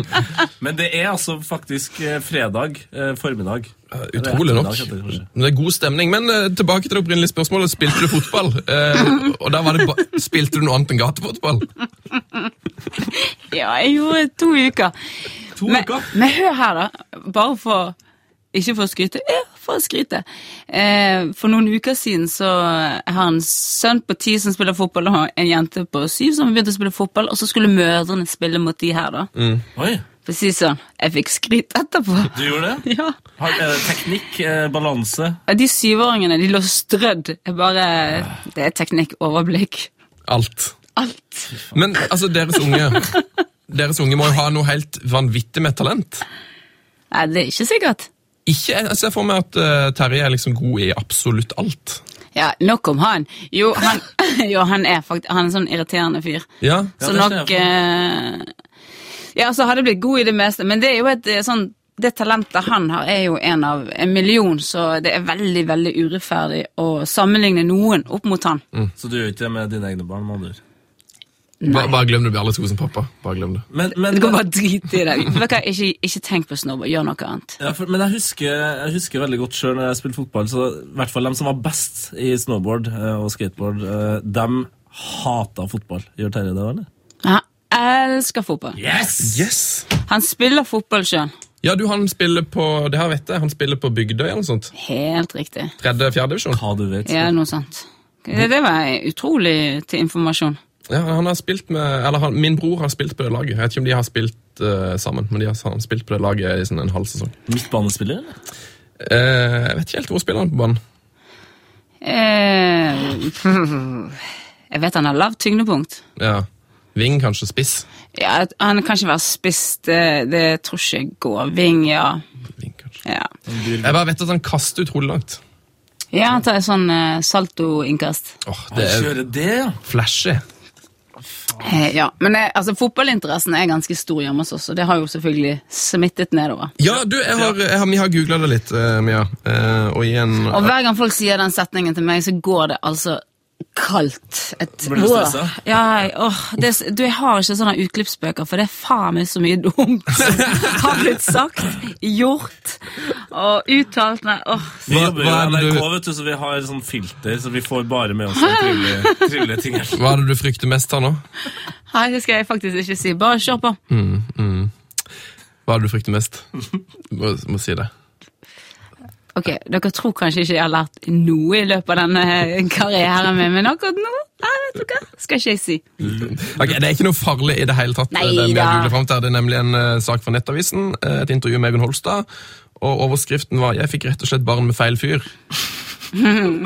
Speaker 5: [laughs] Men det er altså faktisk eh, fredag eh, formiddag.
Speaker 4: Ja, Utrolig nok.
Speaker 5: Eller ettermiddag, heter det kanskje.
Speaker 4: Men Det er god stemning. Men eh, tilbake til det opprinnelige spørsmålet. Spilte du [laughs] fotball? Eh, og der var det ba Spilte du noe annet enn gatefotball?
Speaker 6: [laughs] Ja, jeg gjorde to uker.
Speaker 5: To
Speaker 6: Men,
Speaker 5: uker.
Speaker 6: men hør her, da. Bare for Ikke for å skryte, ja, for å skryte. Eh, for noen uker siden så har en sønn på ti som spiller fotball, og en jente på syv som har begynt å spille fotball, og så skulle mødrene spille mot de her, da.
Speaker 5: Oi,
Speaker 6: For å si det sånn, jeg fikk skryt etterpå. [laughs]
Speaker 5: du gjorde det?
Speaker 6: Ja.
Speaker 5: Har, eh, teknikk, eh, balanse
Speaker 6: De syvåringene de lå strødd. Jeg bare
Speaker 5: Ah.
Speaker 6: Det er teknikk, overblikk.
Speaker 4: Alt.
Speaker 6: Alt.
Speaker 4: Men altså, deres unge Deres unge må jo ha noe helt vanvittig med talent.
Speaker 6: Nei, det er ikke sikkert.
Speaker 4: Ikke, jeg ser for meg at eh, Terje er liksom god i absolutt alt.
Speaker 6: Ja, Nok om han. Jo, han, [laughs] jo, han er faktisk Han er en sånn irriterende fyr.
Speaker 4: Ja,
Speaker 6: Så
Speaker 5: det ser jeg
Speaker 6: nok
Speaker 5: for
Speaker 6: eh, Ja, så har det blitt god i det meste, men det er jo et eh, sånn det talentet han har, er jo en av en million, så det er veldig veldig urettferdig å sammenligne noen opp mot han.
Speaker 5: Så du gjør ikke det med dine egne barn? med andre ord.
Speaker 4: Bare, bare glem det, blir alle to som pappa. Bare glem det.
Speaker 5: Men, men,
Speaker 6: Du kan bare drite i det. Vet du hva, Ikke, ikke tenk på snobber, gjør noe annet.
Speaker 5: Ja, for, men jeg husker, jeg husker veldig godt sjøl når jeg spilte fotball, så i hvert fall de som var best i snowboard eh, og skateboard, eh, de hata fotball. Gjør Terje det, eller?
Speaker 6: Men Han elsker fotball.
Speaker 5: Yes!
Speaker 4: Yes!
Speaker 6: Han spiller fotball sjøl.
Speaker 4: Ja, du, han spiller på det her vet jeg, han spiller på Bygdøy eller noe sånt.
Speaker 6: Helt riktig.
Speaker 4: Tredje-fjerde divisjon.
Speaker 5: Hva du vet.
Speaker 6: Ja, noe sånt. Det, det var utrolig til informasjon.
Speaker 4: Ja, han har spilt med, eller han, Min bror har spilt på det laget. Jeg vet ikke om de har spilt eh, sammen, men de har han har spilt på det laget i sånn en halv sesong.
Speaker 5: Midtbanespiller, eller?
Speaker 4: Eh, jeg vet ikke helt hvor spiller han på banen.
Speaker 6: Eh, jeg vet han har lavt tyngdepunkt.
Speaker 4: Ja. Ving, kanskje spiss.
Speaker 6: Ja, han kan ikke være spist, det, det tror ikke jeg går. Ving, ja.
Speaker 4: Ving, kanskje.
Speaker 6: Ja,
Speaker 4: Jeg bare vet at han kaster utrolig langt.
Speaker 6: ja han tar en sånn eh, salto-innkast.
Speaker 4: Åh,
Speaker 5: Han
Speaker 4: Det er
Speaker 5: kjører det, ja.
Speaker 4: flashy.
Speaker 6: Eh, ja, men eh, altså, fotballinteressen er ganske stor hjemme hos oss, og det har jo selvfølgelig smittet nedover.
Speaker 4: Ja, du, jeg har, jeg har, vi har googla det litt, eh, Mia. Eh, og i en
Speaker 6: Og hver gang folk sier den setningen til meg, så går det altså kaldt. Et,
Speaker 5: Blir du
Speaker 6: Åh,
Speaker 5: stressa?
Speaker 6: Ja, jeg- åh, det, s- du, jeg har ikke sånne utklippsbøker, for det er faen meg så mye dumt
Speaker 5: [laughs]
Speaker 6: som har blitt sagt, gjort og uttalt. Nei, åh.
Speaker 5: Vi
Speaker 4: Hva-
Speaker 5: jobber jo
Speaker 4: hva
Speaker 5: i
Speaker 4: er det
Speaker 5: NRK,
Speaker 4: du-
Speaker 5: vet du, så vi har sånn filter, så vi får bare med oss de trivelige,
Speaker 4: [laughs]
Speaker 5: trivelige tingene.
Speaker 4: Hva er det du frykter mest her nå?
Speaker 6: Nei, det skal jeg faktisk ikke si. Bare kjør på.
Speaker 4: Hva er det du frykter mest? Må, må si det.
Speaker 6: Ok, Dere tror kanskje ikke jeg har lært noe i løpet av denne karrieren min, men akkurat nå nei, vet du hva, skal ikke jeg si.
Speaker 4: Ok, Det er ikke noe farlig i det hele tatt. eh,
Speaker 6: Nei
Speaker 4: det, vi
Speaker 6: da.
Speaker 4: har googlet frem til. det er nemlig en eh, sak fra Nettavisen. eh, et intervju med Øyvind Holstad. Og overskriften var 'Jeg fikk rett og slett barn med feil
Speaker 6: [laughs]
Speaker 4: fyr'.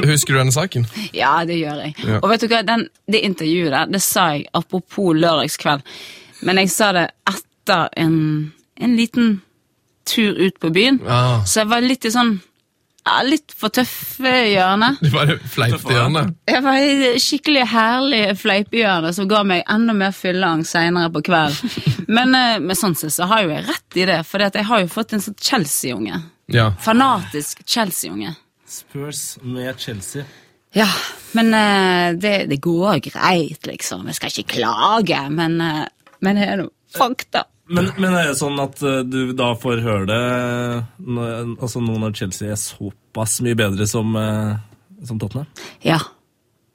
Speaker 4: Husker du denne saken?
Speaker 6: Ja, det gjør jeg.
Speaker 4: Ja.
Speaker 6: Og vet du hva, den, det intervjuet der, det sa jeg apropos lørdagskveld, men jeg sa det etter en, en liten tur ut på byen,
Speaker 4: Ah.
Speaker 6: så jeg var litt i sånn ja, litt for tøffe hjørne.
Speaker 4: Det var det fleipete hjørnet.
Speaker 6: Jeg var i det skikkelig herlig fleipehjørne som ga meg enda mer fylleangst seinere på kvelden. Men eh, med sånn sett så har jo jeg rett i det, for jeg har jo fått en sånn Chelsea-unge.
Speaker 4: Ja.
Speaker 6: Fanatisk Chelsea-unge.
Speaker 5: Spurs med Chelsea.
Speaker 6: Ja, men eh, det, det går greit, liksom. Jeg skal ikke klage, men, eh, men det er noe fakta.
Speaker 5: Men, men er det sånn at eh, du da får høre det når, altså nå når Chelsea er såpass mye bedre som, eh, som Tottenham?
Speaker 6: Ja.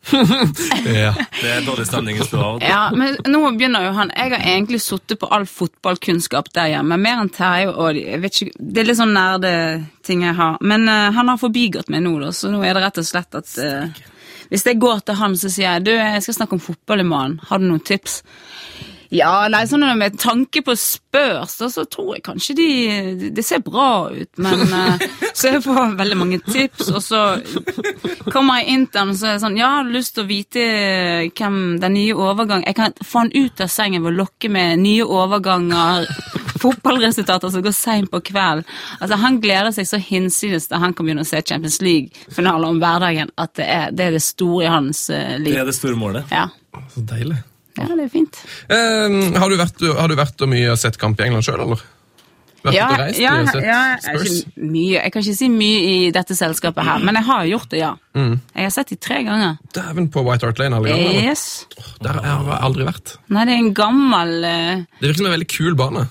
Speaker 4: ja.
Speaker 5: Det er dårlig stemning i stua. vet du.
Speaker 6: ja, men nå begynner jo han. Jeg har egentlig sittet på all fotballkunnskap der hjemme. Mer enn Terje og de- jeg vet ikke, Det er litt sånn nerdeting jeg har. Men eh, han har forbigått meg nå, da, så nå er det rett og slett at eh, Hvis jeg går til han, så sier jeg du, jeg skal snakke om fotball i morgen. Har du noen tips? Ja, nei, sånn med tanke på spørs, da, så tror jeg kanskje de Det ser bra ut, men eh, Så jeg får veldig mange tips, og så kommer jeg inn til ham og så er jeg sånn Ja, har du lyst til å vite hvem den nye overgang Jeg kan få han ut av sengen ved å lokke med nye overganger, fotballresultater som går seint på kvelden. Altså, han gleder seg så hinsides da han kan begynne å se Champions League-finaler om hverdagen, at det er det, er det store i hans eh,
Speaker 5: [laughs] Det
Speaker 6: liv.
Speaker 5: er det store målet.
Speaker 6: Ja.
Speaker 4: Så deilig.
Speaker 6: ja, det er fint.
Speaker 4: Eh, har, du vært, har du vært og mye og sett kamp i England sjøl, eller? Vært ute og reist?
Speaker 6: ja,
Speaker 4: og sett
Speaker 6: ja, jeg er
Speaker 4: Spurs?
Speaker 6: ikke mye, jeg kan ikke si mye i dette selskapet her, men jeg har gjort det, ja.
Speaker 4: Mm.
Speaker 6: Jeg har sett de tre ganger.
Speaker 4: Dæven på White Hart Lane. alle gangene, eller?
Speaker 6: Yes.
Speaker 4: Der har jeg aldri vært.
Speaker 6: Nei, det er en gammel eh,
Speaker 4: Det virker som en veldig kul bane.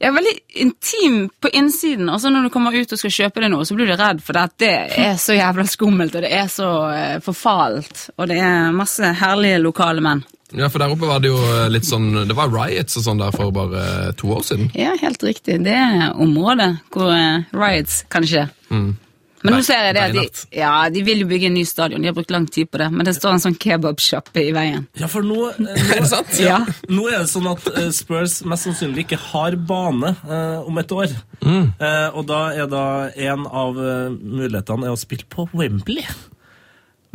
Speaker 6: Ja, veldig intim på innsiden. Og så når du kommer ut og skal kjøpe deg noe, så blir du redd, for det, at det er så jævla skummelt, og det er så eh, forfalt. Og det er masse herlige lokale menn.
Speaker 4: Ja, for Der oppe var det jo eh, litt sånn Det var riots og sånn der for bare eh, to år siden.
Speaker 6: Ja, helt riktig. Det er området hvor eh, riots kan skje. Men nå
Speaker 4: Mm. Nei,
Speaker 6: ser jeg det at de,
Speaker 4: Reinhardt.
Speaker 6: ja, de vil jo bygge en ny stadion. De har brukt lang tid på det, men det står en sånn kebabsjappe i veien.
Speaker 5: Ja, for nå, eh, nå,
Speaker 4: sant?
Speaker 6: Ja.
Speaker 5: nå er det sånn at eh, Spurs mest sannsynlig ikke har bane eh, om et år. Eh, og da er da en av eh, mulighetene er å spille på Wembley.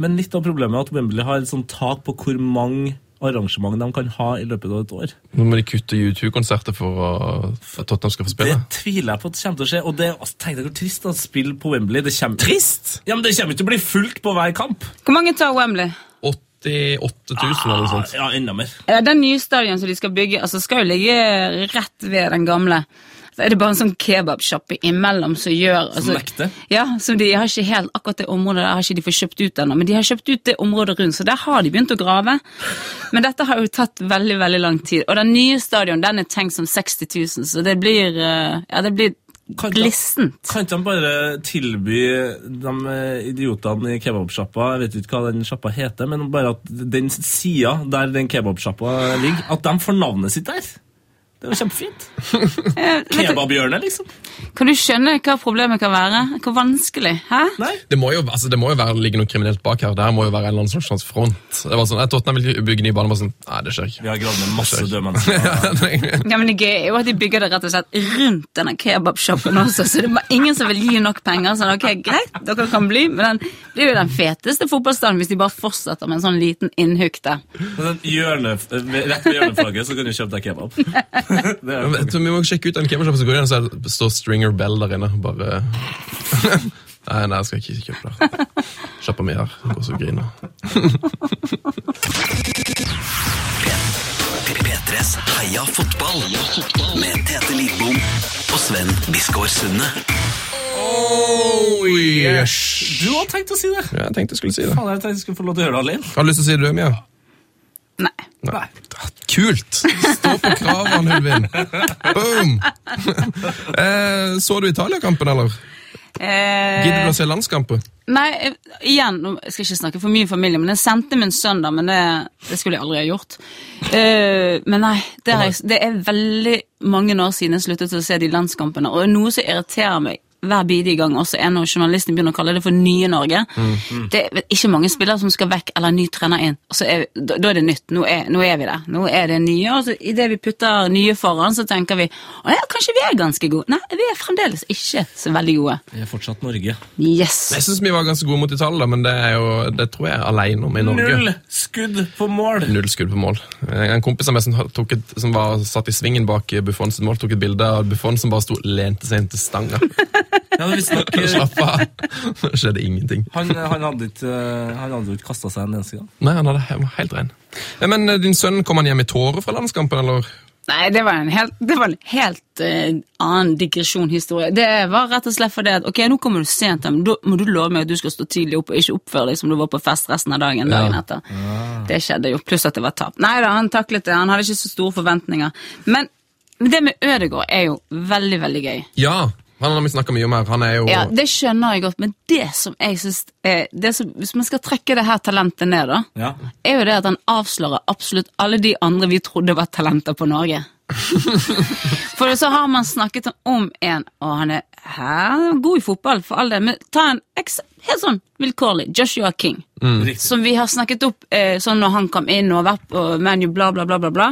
Speaker 5: Men litt av problemet er at Wembley har et sånt tak på hvor mange arrangement de kan ha i løpet av et år.
Speaker 4: Nå må de kutte U2-konserter for å- for at Tottenham skal få spille.
Speaker 5: Det tviler jeg på at det kommer til å skje. Og det altså, tenk deg hvor trist å spille på Wembley. Det kommer... Trist? Ja, men det kommer ikke til å bli fullt på hver kamp.
Speaker 6: Hvor mange tar Wembley?
Speaker 4: 88 000 eller noe sånt.
Speaker 5: Ja, enda mer.
Speaker 6: Ja, Den nye stadion som de skal bygge, altså skal jo ligge rett ved den gamle. Så er det bare en sånn kebabsjappe imellom som gjør altså,
Speaker 5: nekter?
Speaker 6: Ja, som de har ikke helt akkurat det området der har ikke de fått kjøpt ut ennå, men de har kjøpt ut det området rundt, så der har de begynt å grave. Men dette har jo tatt veldig, veldig lang tid. Og den nye stadion, den er tenkt som 60 000, så det blir eh, Ja, det blir
Speaker 5: Kan ikke-
Speaker 6: glissent.
Speaker 5: Kan ikke de bare tilby de eh, idiotene i kebabsjappa Jeg vet ikke hva den sjappa heter, men bare at den sida der den kebabsjappa ligger, at de får navnet sitt der? Det Det er jo kjempefint.
Speaker 6: [laughs] Eh, vet du,
Speaker 5: Kebabhjørnet, liksom.
Speaker 6: kan du skjønne hva problemet kan være? Hvor vanskelig? Hæ?
Speaker 5: Nei.
Speaker 4: Det må jo, altså, det må jo være, ligge noe kriminelt bak her. Det her må jo være en eller annen slags front. Det var sånn, jeg Tottenham vil bygge ny bane, bare sånn Nei, det skjer [laughs]
Speaker 5: Vi har gravd ned masse døde mennesker.
Speaker 4: ikke.
Speaker 6: Ja, men Det gøye er jo at de bygger det rett og slett rundt denne kebabshoppen også, så det er bare ingen som vil gi nok penger. Sånn, ok, greit, dere kan bli, men den, det er jo den feteste fotballstaden hvis de bare fortsetter med en sånn liten innhukk der. [laughs]
Speaker 5: Sånn hjørne, eh, rett ved hjørneflagget så kan du kjøpe deg
Speaker 6: [laughs]
Speaker 5: kebab. Det er
Speaker 4: Men vet du, Vi må sjekke ut den kebabshoppen som går igjen, så er det- står Stringer Bell der inne. Bare [laughs] Nei, nei, jeg skal ikke kjøpe der. Kjappa mi her. Går så griner.
Speaker 3: P3s Heia fotball med Tete Lidbom og Sven Biskår Sunne.
Speaker 4: Oh, Yes.
Speaker 5: Du har tenkt å si det.
Speaker 4: Ja, jeg tenkte jeg skulle si det.
Speaker 5: Faen, jeg tenkte jeg skulle få lov til å høre det alene.
Speaker 4: Har du lyst til å si det, Mia?
Speaker 6: Nei.
Speaker 4: Nei. Kult! Stå på kravene, Hulvin. Boom! Eh, Så du Italia-kampen, eller? Gidder du
Speaker 6: Eh,
Speaker 4: å se landskampen?
Speaker 6: nei, eh, igjen, nå skal jeg ikke snakke for mye familie, men jeg sendte min sønn da, men det, det skulle jeg aldri ha gjort. Eh, men nei, det, har jeg, det er veldig mange år siden jeg sluttet å se de landskampene, og noe som irriterer meg hver bidige gang også er når journalisten begynner å kalle det for nye Norge. Det er ikke mange spillere som skal vekk eller ny trener inn. Og så er, da, da er det nytt. Nå er, nå er vi der. Nå er det nye. Og så idet vi putter nye foran, så tenker vi å ja, kanskje vi er ganske gode. Nei, vi er fremdeles ikke så veldig gode.
Speaker 5: Vi er fortsatt Norge.
Speaker 6: Yes!
Speaker 4: Jeg syns vi var ganske gode mot Italia, da, men det er jo, det tror jeg er alene om i Norge.
Speaker 5: Null skudd på mål.
Speaker 4: Null skudd på mål. Eh, En kompis av meg som, tok et, som var satt i svingen bak Buffon sitt mål, tok et bilde av Buffon som bare sto lente seg inn til stanga.
Speaker 5: Ja, men visst nok, eh,
Speaker 4: Slapp av. Det skjedde ingenting.
Speaker 5: han, han hadde ikke, eh, han hadde jo ikke kasta seg en eneste gang.
Speaker 4: Nei, han, hadde, han var helt ren. Eh, Men eh, din sønn, kom han hjem i tårer fra landskampen, eller?
Speaker 6: Nei, det var en helt, det var en helt eh, annen digresjonhistorie. Det var rett og slett fordi at ok, nå kommer du sent hjem, da må du love meg at du skal stå tidlig opp og ikke oppføre deg som du var på fest resten av dagen dagen etter. Det skjedde jo, pluss at det var tap. Nei da, han taklet det, han hadde ikke så store forventninger. Men men det med Ødegård er jo veldig, veldig gøy.
Speaker 4: Ja! Han har vi snakka mye om her. Han er jo
Speaker 6: Ja, Det skjønner jeg godt, men det som jeg synes, eh, det som, hvis man skal trekke det her talentet ned, da,
Speaker 5: Ja.
Speaker 6: er jo det at han avslører absolutt alle de andre vi trodde var talenter
Speaker 5: [laughs]
Speaker 6: på Norge. for så har man snakket om en, og han er hæ, god i fotball, for all del, men ta en eks- helt sånn vilkårlig Joshua King,
Speaker 5: Riktig.
Speaker 6: som vi har snakket opp eh, sånn når han kom inn og har vært på menu, bla, bla, bla, bla, bla.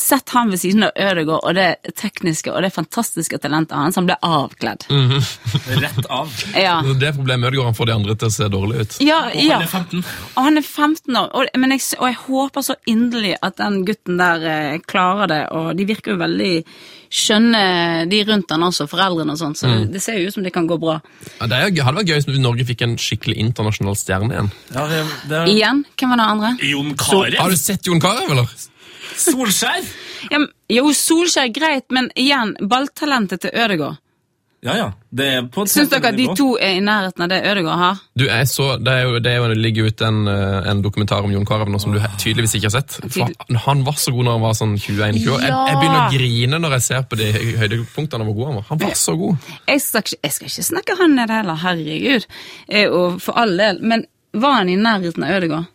Speaker 6: Sett han ved siden av Ødegaard og det tekniske og det fantastiske talentet hans. Han ble avkledd.
Speaker 5: Mm. Rett av.
Speaker 6: Ja.
Speaker 4: Det er problemet med Ødegaard, han får de andre til å se dårlig ut.
Speaker 6: Ja, ja.
Speaker 5: Han er 15.
Speaker 6: Og han er 15 år, og, men jeg, s- og jeg håper så inderlig at den gutten der eh, klarer det, og de virker jo veldig skjønne, de rundt han også, foreldrene og sånn, så det, det ser jo ut som det kan gå bra.
Speaker 4: Ja, det er, jo- hadde vært gøy hvis Norge fikk en skikkelig internasjonal stjerne igjen.
Speaker 5: Ja, det, det er
Speaker 6: Igjen, hvem var den andre?
Speaker 5: Jon
Speaker 4: Har
Speaker 5: Carew.
Speaker 4: du sett Jon Carew, eller?
Speaker 5: Solskjær!
Speaker 6: Ja, men- jo, Solskjær greit, men igjen, balltalentet til Ødegård.
Speaker 5: Ja, ja. Det er på et
Speaker 6: Syns
Speaker 5: helt
Speaker 6: dere
Speaker 5: annet
Speaker 6: at de
Speaker 5: nivå.
Speaker 6: to er i nærheten av det Ødegård har?
Speaker 4: Du, jeg så, det, er jo, det, er jo, det ligger ute en, eh, en dokumentar om Jon Carew nå som du he- tydeligvis ikke har sett. For han- han var så god når han var sånn 21-20 år. Jeg, jeg begynner å grine når jeg ser på de høy- høydepunktene hvor god han var. Han var så god.
Speaker 6: Jeg skal, ikke- jeg skal ikke snakke han ned heller, herregud, eh, og for all del, men var han i nærheten av Ødegård?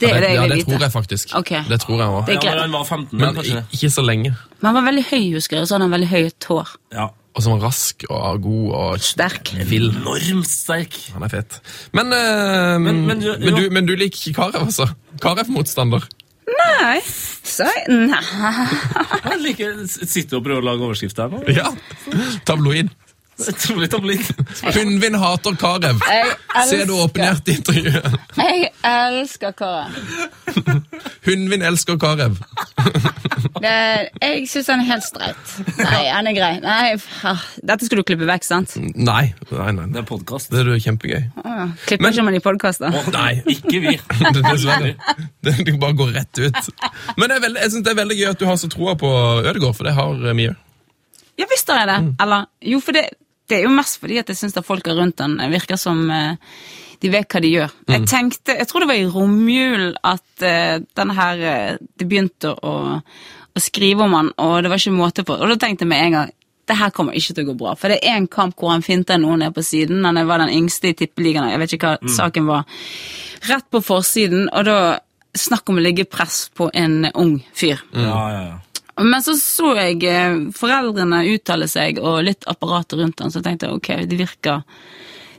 Speaker 6: Det er det
Speaker 4: ja,
Speaker 6: jeg vil
Speaker 4: det tror
Speaker 6: vite.
Speaker 4: jeg faktisk.
Speaker 6: Ok.
Speaker 4: Det tror jeg også.
Speaker 6: Det-
Speaker 5: Ja, men han var 15, da,
Speaker 4: Men
Speaker 5: kanskje.
Speaker 4: i- ikke så lenge.
Speaker 6: Men han var veldig høy, husker jeg, og så hadde han veldig høyt hår.
Speaker 5: Ja.
Speaker 4: Og så var han rask og god og
Speaker 6: Sterk.
Speaker 4: vill.
Speaker 5: Enormt sterk.
Speaker 4: Han er fet. Men, eh,
Speaker 5: Men-
Speaker 4: men,
Speaker 5: men
Speaker 4: du,
Speaker 5: du-
Speaker 4: men du liker ikke Carew, altså?
Speaker 5: [laughs]
Speaker 4: Carew-motstander.
Speaker 6: Nei. Så, nei.
Speaker 5: Jeg liker, sitter og prøver å lage overskrift her nå.
Speaker 4: Ja. Tabloid.
Speaker 5: Utrolig tabloid.
Speaker 4: Hundvin hater Carew.
Speaker 6: Jeg
Speaker 4: Se det
Speaker 6: elsker,
Speaker 4: åpenhjertige intervjuet.
Speaker 6: jeg elsker Kåre.
Speaker 4: Hundvin elsker Carew.
Speaker 6: Det- Jeg syns han er helt streit. Nei, han er grei. Nei, f- ah, dette skulle du klippe vekk, sant?
Speaker 4: Nei, nei, nei.
Speaker 5: Det er podkast.
Speaker 4: Det er jo kjempegøy.
Speaker 6: Ah, Klipper
Speaker 4: Men-
Speaker 6: ikke man i podkaster?
Speaker 4: Nei. [laughs]
Speaker 5: Ikke [laughs] vi.
Speaker 4: Det- Dessverre. Det, det bare går rett ut. Men det er veldig, jeg synes det er veldig gøy at du har så troa på Ødegaard, for det har eh, mye.
Speaker 6: Ja visst har jeg det. Eller jo, for det, det er jo mest fordi at jeg syns at folka rundt han virker som eh, de vet hva de gjør. Jeg tenkte, jeg tror det var i romjulen at eh, den her eh, Det begynte å, å skrive om han, og det var ikke måte på. Og da tenkte jeg med en gang det her kommer ikke til å gå bra. For det er en kamp hvor han finter noen ned på siden. Han var den yngste i tippeligaen, og jeg vet ikke hva saken var. Rett på forsiden, og da Snakk om å ligge press på en ung fyr.
Speaker 5: Ja, ja, ja.
Speaker 6: Men så så jeg eh, foreldrene uttale seg, og litt apparatet rundt han, så tenkte jeg ok, de virker,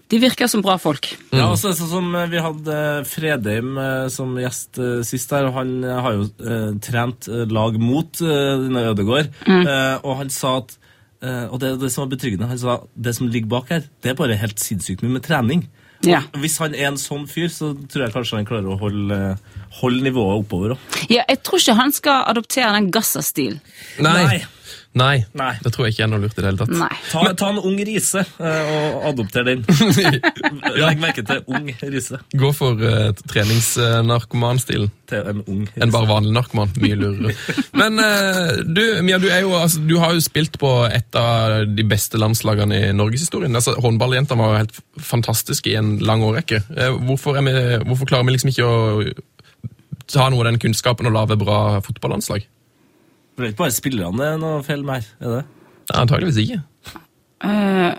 Speaker 6: de virker som bra folk.
Speaker 5: Ja, og så er det sånn som eh, Vi hadde eh, Fredheim eh, som gjest eh, sist her, og han eh, har jo eh, trent eh, lag mot eh, denne Ødegård.
Speaker 6: Mm.
Speaker 5: Eh, og han sa at eh, Og det, er det som var betryggende, han sa det som ligger bak her, det er bare helt sinnssykt mye med trening.
Speaker 6: Ja.
Speaker 5: Hvis han er en sånn fyr, så tror jeg kanskje han klarer å holde, eh, holde nivået oppover òg.
Speaker 6: ja, jeg tror ikke han skal adoptere den Gaza-stilen.
Speaker 4: Nei.
Speaker 5: Nei.
Speaker 4: Nei.
Speaker 5: Nei.
Speaker 4: Det tror jeg ikke er noe lurt i det hele tatt.
Speaker 6: Nei.
Speaker 5: Ta, ta en ung rise eh, og adopter
Speaker 6: [laughs]
Speaker 5: den. Legg merke til ung rise.
Speaker 4: Gå for uh, treningsnarkomanstilen.
Speaker 5: Til en ung rise.
Speaker 4: enn bare vanlig narkoman. Mye lurere. Men eh, du, Mia, du, er jo, altså, du har jo spilt på et av de beste landslagene i norgeshistorien. Altså, Håndballjentene var jo helt fantastiske i en lang årrekke. Eh, hvorfor, er vi, hvorfor klarer vi liksom ikke å ta noe av den kunnskapen og lage bra fotballandslag?
Speaker 5: Det er ikke bare spillerne det er noe feil med her. er det?
Speaker 4: Ja, antageligvis ikke.
Speaker 6: Eh,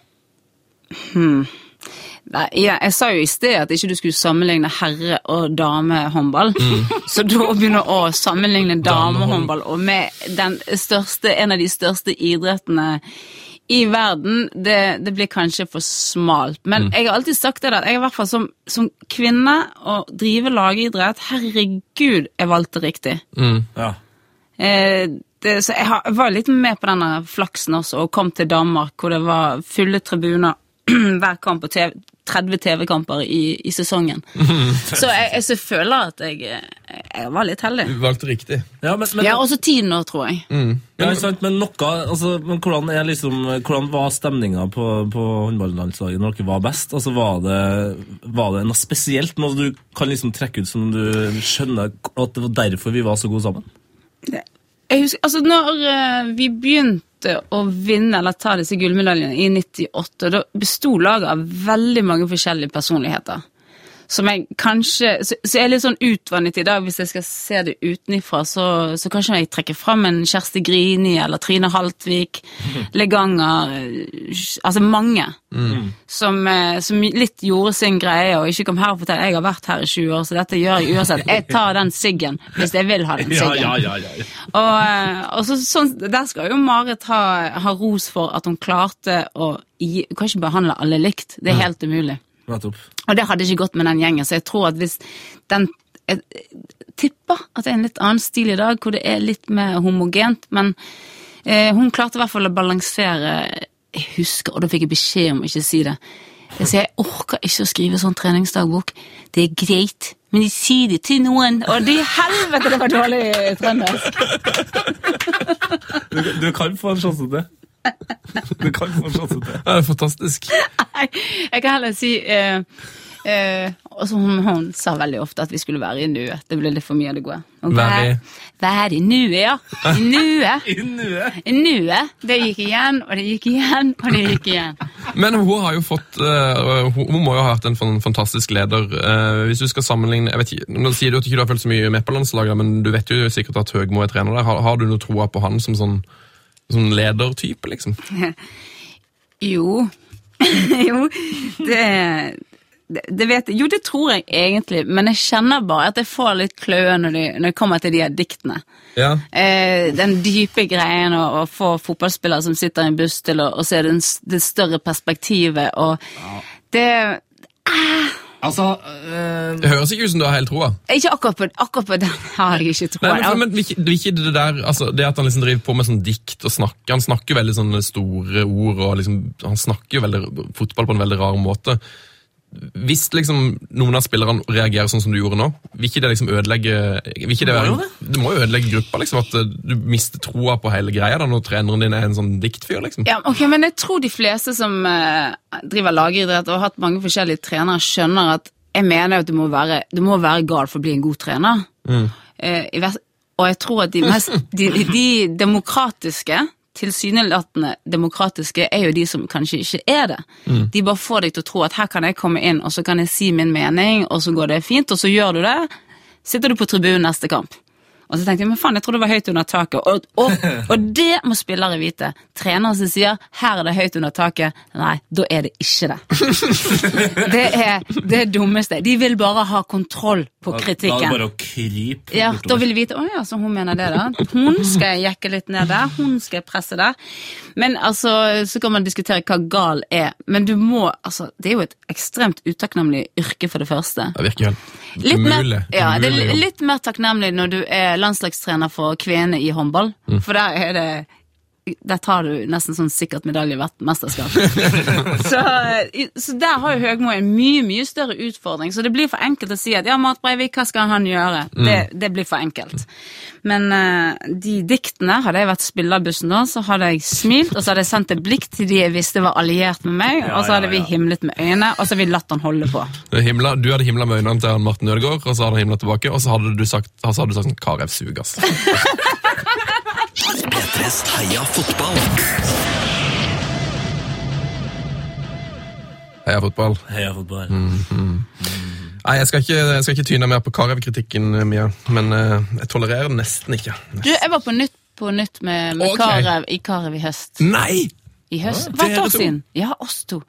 Speaker 6: hmm. Nei, ja, jeg sa jo i sted at ikke du skulle sammenligne herre- og damehåndball. [laughs] Så da begynner å sammenligne damehåndball og med den største, en av de største idrettene i verden, det, det blir kanskje for smalt. Men jeg har alltid sagt det at jeg i hvert fall som, som kvinne å drive lagidrett Herregud, jeg valgte riktig.
Speaker 5: Ja.
Speaker 6: Eh, det, så jeg har, var litt med på denne flaksen også, og kom til Danmark, hvor det var fulle tribuner [clears throat] hver kamp og TV, 30 TV-kamper i, i sesongen. så jeg, jeg så føler at jeg, eh, jeg var litt heldig.
Speaker 4: Du valgte riktig.
Speaker 5: Ja, men, men,
Speaker 6: Ja, også tiden nå, tror jeg.
Speaker 5: ja, ikke sant? men, noe, altså, men hvordan, er liksom, hvordan var stemninga på, på håndballandslaget når dere var best? Altså, var, det, var det noe spesielt? Noe du kan liksom trekke ut som du skjønner at det var derfor vi var så gode sammen?
Speaker 6: Jeg husker, altså når eh, vi begynte å vinne eller ta disse gullmedaljene i 98, da besto laget av veldig mange forskjellige personligheter. Som jeg kanskje, så, så jeg er litt sånn utvannet i dag, hvis jeg skal se det utenifra, så, så kanskje jeg trekker fram en Kjersti Grini eller
Speaker 5: [laughs]
Speaker 6: Trine Haltvik, Leganger, eh, altså mange.
Speaker 5: Mm.
Speaker 6: Som, eh, som litt gjorde sin greie og ikke kom her og fortalte, jeg har vært her i 20 år, så dette gjør jeg uansett. Jeg tar den siggen hvis jeg vil ha den
Speaker 5: [laughs]
Speaker 6: siggen.
Speaker 5: ja, ja.
Speaker 6: Og, eh, og så, sånn, der skal jo Marit ha, ha ros for at hun klarte å gi, Hun kan ikke behandle alle likt. Det er helt umulig.
Speaker 5: Nettopp.
Speaker 6: Og det hadde ikke gått med den gjengen, så jeg tror at hvis den Jeg tipper at det er en litt annen stil i dag, hvor det er litt mer homogent, men eh, hun klarte i hvert fall å balansere Jeg husker, og da fikk jeg beskjed om å ikke si det. Jeg sier jeg orker ikke å skrive sånn treningsdagbok. Det er greit, men de sier det til noen, og det er helvete, det var dårlig altså. trøndersk.
Speaker 5: Du, du kan få en sjanse til. Du kan få en sjanse til.
Speaker 4: Ja, det er fantastisk.
Speaker 6: Nei, jeg kan heller si eh, eh, og så hun, hun sa veldig ofte at vi skulle være i nuet. Det ble litt for mye av det gode. Og
Speaker 4: Være i-
Speaker 6: Være i nuet, ja. I nuet.
Speaker 5: I nuet.
Speaker 6: I nuet. Det gikk igjen, og det gikk igjen, og det gikk igjen.
Speaker 4: Men hun har jo fått eh, hun, hun må jo ha vært en fan- fantastisk leder. Eh, hvis du skal sammenligne jeg vet ikke, Nå sier du at du ikke har følt så mye med på landslaget, men du vet jo sikkert at Høgmo er trener der. Har, har du noe troa på han som sånn, sånn ledertype, liksom?
Speaker 6: Jo. [laughs] jo, det, det, det vet jeg. Jo, det tror jeg egentlig, men jeg kjenner bare at jeg får litt kløe når det, når det kommer til de her diktene.
Speaker 4: Ja.
Speaker 6: Eh, den dype greien å, å få fotballspillere som sitter i en buss til å, å se den, s- det større perspektivet og det
Speaker 5: Altså eh,
Speaker 4: Det høres ikke ut som du har helt troa.
Speaker 6: Ikke akkurat på, akkurat på den [laughs] har jeg ikke
Speaker 4: Nei, men,
Speaker 6: troa.
Speaker 4: men, vil ikke- vil ikke det der altså, Det at han liksom driver på med sånn dikt og snakker Han snakker veldig sånne store ord, og liksom, han snakker jo veldig fotball på en veldig rar måte. Hvis liksom noen av spillerne reagerer sånn som du gjorde nå, vil ikke det liksom ødelegge vil ikke
Speaker 5: Det må
Speaker 4: det, være,
Speaker 5: jo det.
Speaker 4: det må jo ødelegge gruppa, liksom. At eh, du mister troa på hele greia da, når treneren din er en sånn diktfyr, liksom.
Speaker 6: [laughs] Ja, ok, Men jeg tror de fleste som eh, driver lagidrett og har hatt mange forskjellige trenere, skjønner at jeg mener jo at du må være, du må være gal for å bli en god trener. Eh, i vers- og jeg tror at de, mest, de, de demokratiske, tilsynelatende demokratiske, er jo de som kanskje ikke er det. De bare får deg til å tro at her kan jeg komme inn, og så kan jeg si min mening, og så går det fint, og så gjør du det. Sitter du på tribunen neste kamp. Og så tenkte jeg men faen, jeg trodde det var høyt under taket. Og,
Speaker 5: [laughs]
Speaker 6: og, og det må spillere vite. Treneren som sier 'her er det høyt under taket', nei, da er det ikke det.
Speaker 5: [laughs]
Speaker 6: det er det dummeste. De vil bare ha kontroll på
Speaker 5: Da er det
Speaker 6: kritikken.
Speaker 5: bare å krype
Speaker 6: Ja, da
Speaker 5: bortover.
Speaker 6: vil de vite Å ja, så hun mener det, da. Hun skal jeg jekke litt ned der. Hun skal jeg presse der. Men altså, så kan man diskutere hva gal er. Men du må altså Det er jo et ekstremt utakknemlig yrke, for det første.
Speaker 4: Det virker helt
Speaker 6: Litt mer,
Speaker 4: umulig.
Speaker 6: ja,
Speaker 4: Umulig
Speaker 6: det
Speaker 4: liksom.
Speaker 6: er
Speaker 4: jobb.
Speaker 6: litt mer takknemlig når du er landslagstrener for kvinner i håndball, for der er det der tar du nesten sånn sikkert medalje i hvert mesterskap. så, eh, så der har jo Høgmo en mye mye større utfordring. Så det blir for enkelt å si at ja, Marit Breivik, hva skal han gjøre? Det, det blir for enkelt. Men eh, de diktene, hadde jeg vært spillerbussen da, så hadde jeg smilt, og så hadde jeg sendt et blikk til de jeg visste var alliert med meg, og så hadde
Speaker 5: ja, ja.
Speaker 6: vi himlet med øynene, og så hadde vi latt han holde på.
Speaker 4: Himla, du hadde himla med øynene til han Morten Ødegaard, og så hadde han himla tilbake, og så hadde du sagt, så hadde du sagt sånn, Karev sugas.
Speaker 3: P3s Heia fotball.
Speaker 4: Heia fotball.
Speaker 5: Heia fotball.
Speaker 3: Mm.
Speaker 4: Nei, jeg skal ikke, jeg skal ikke tyne mer på Karev-kritikken, Mia, men eh, jeg tolererer den nesten ikke.
Speaker 6: Du, jeg var på Nytt på Nytt med, med
Speaker 4: Ok.
Speaker 6: Karev i Karev i høst.
Speaker 4: Nei!
Speaker 6: I høst?
Speaker 4: Ja,
Speaker 6: Hvert
Speaker 4: dere
Speaker 6: år
Speaker 4: to.
Speaker 6: siden. Ja, oss to.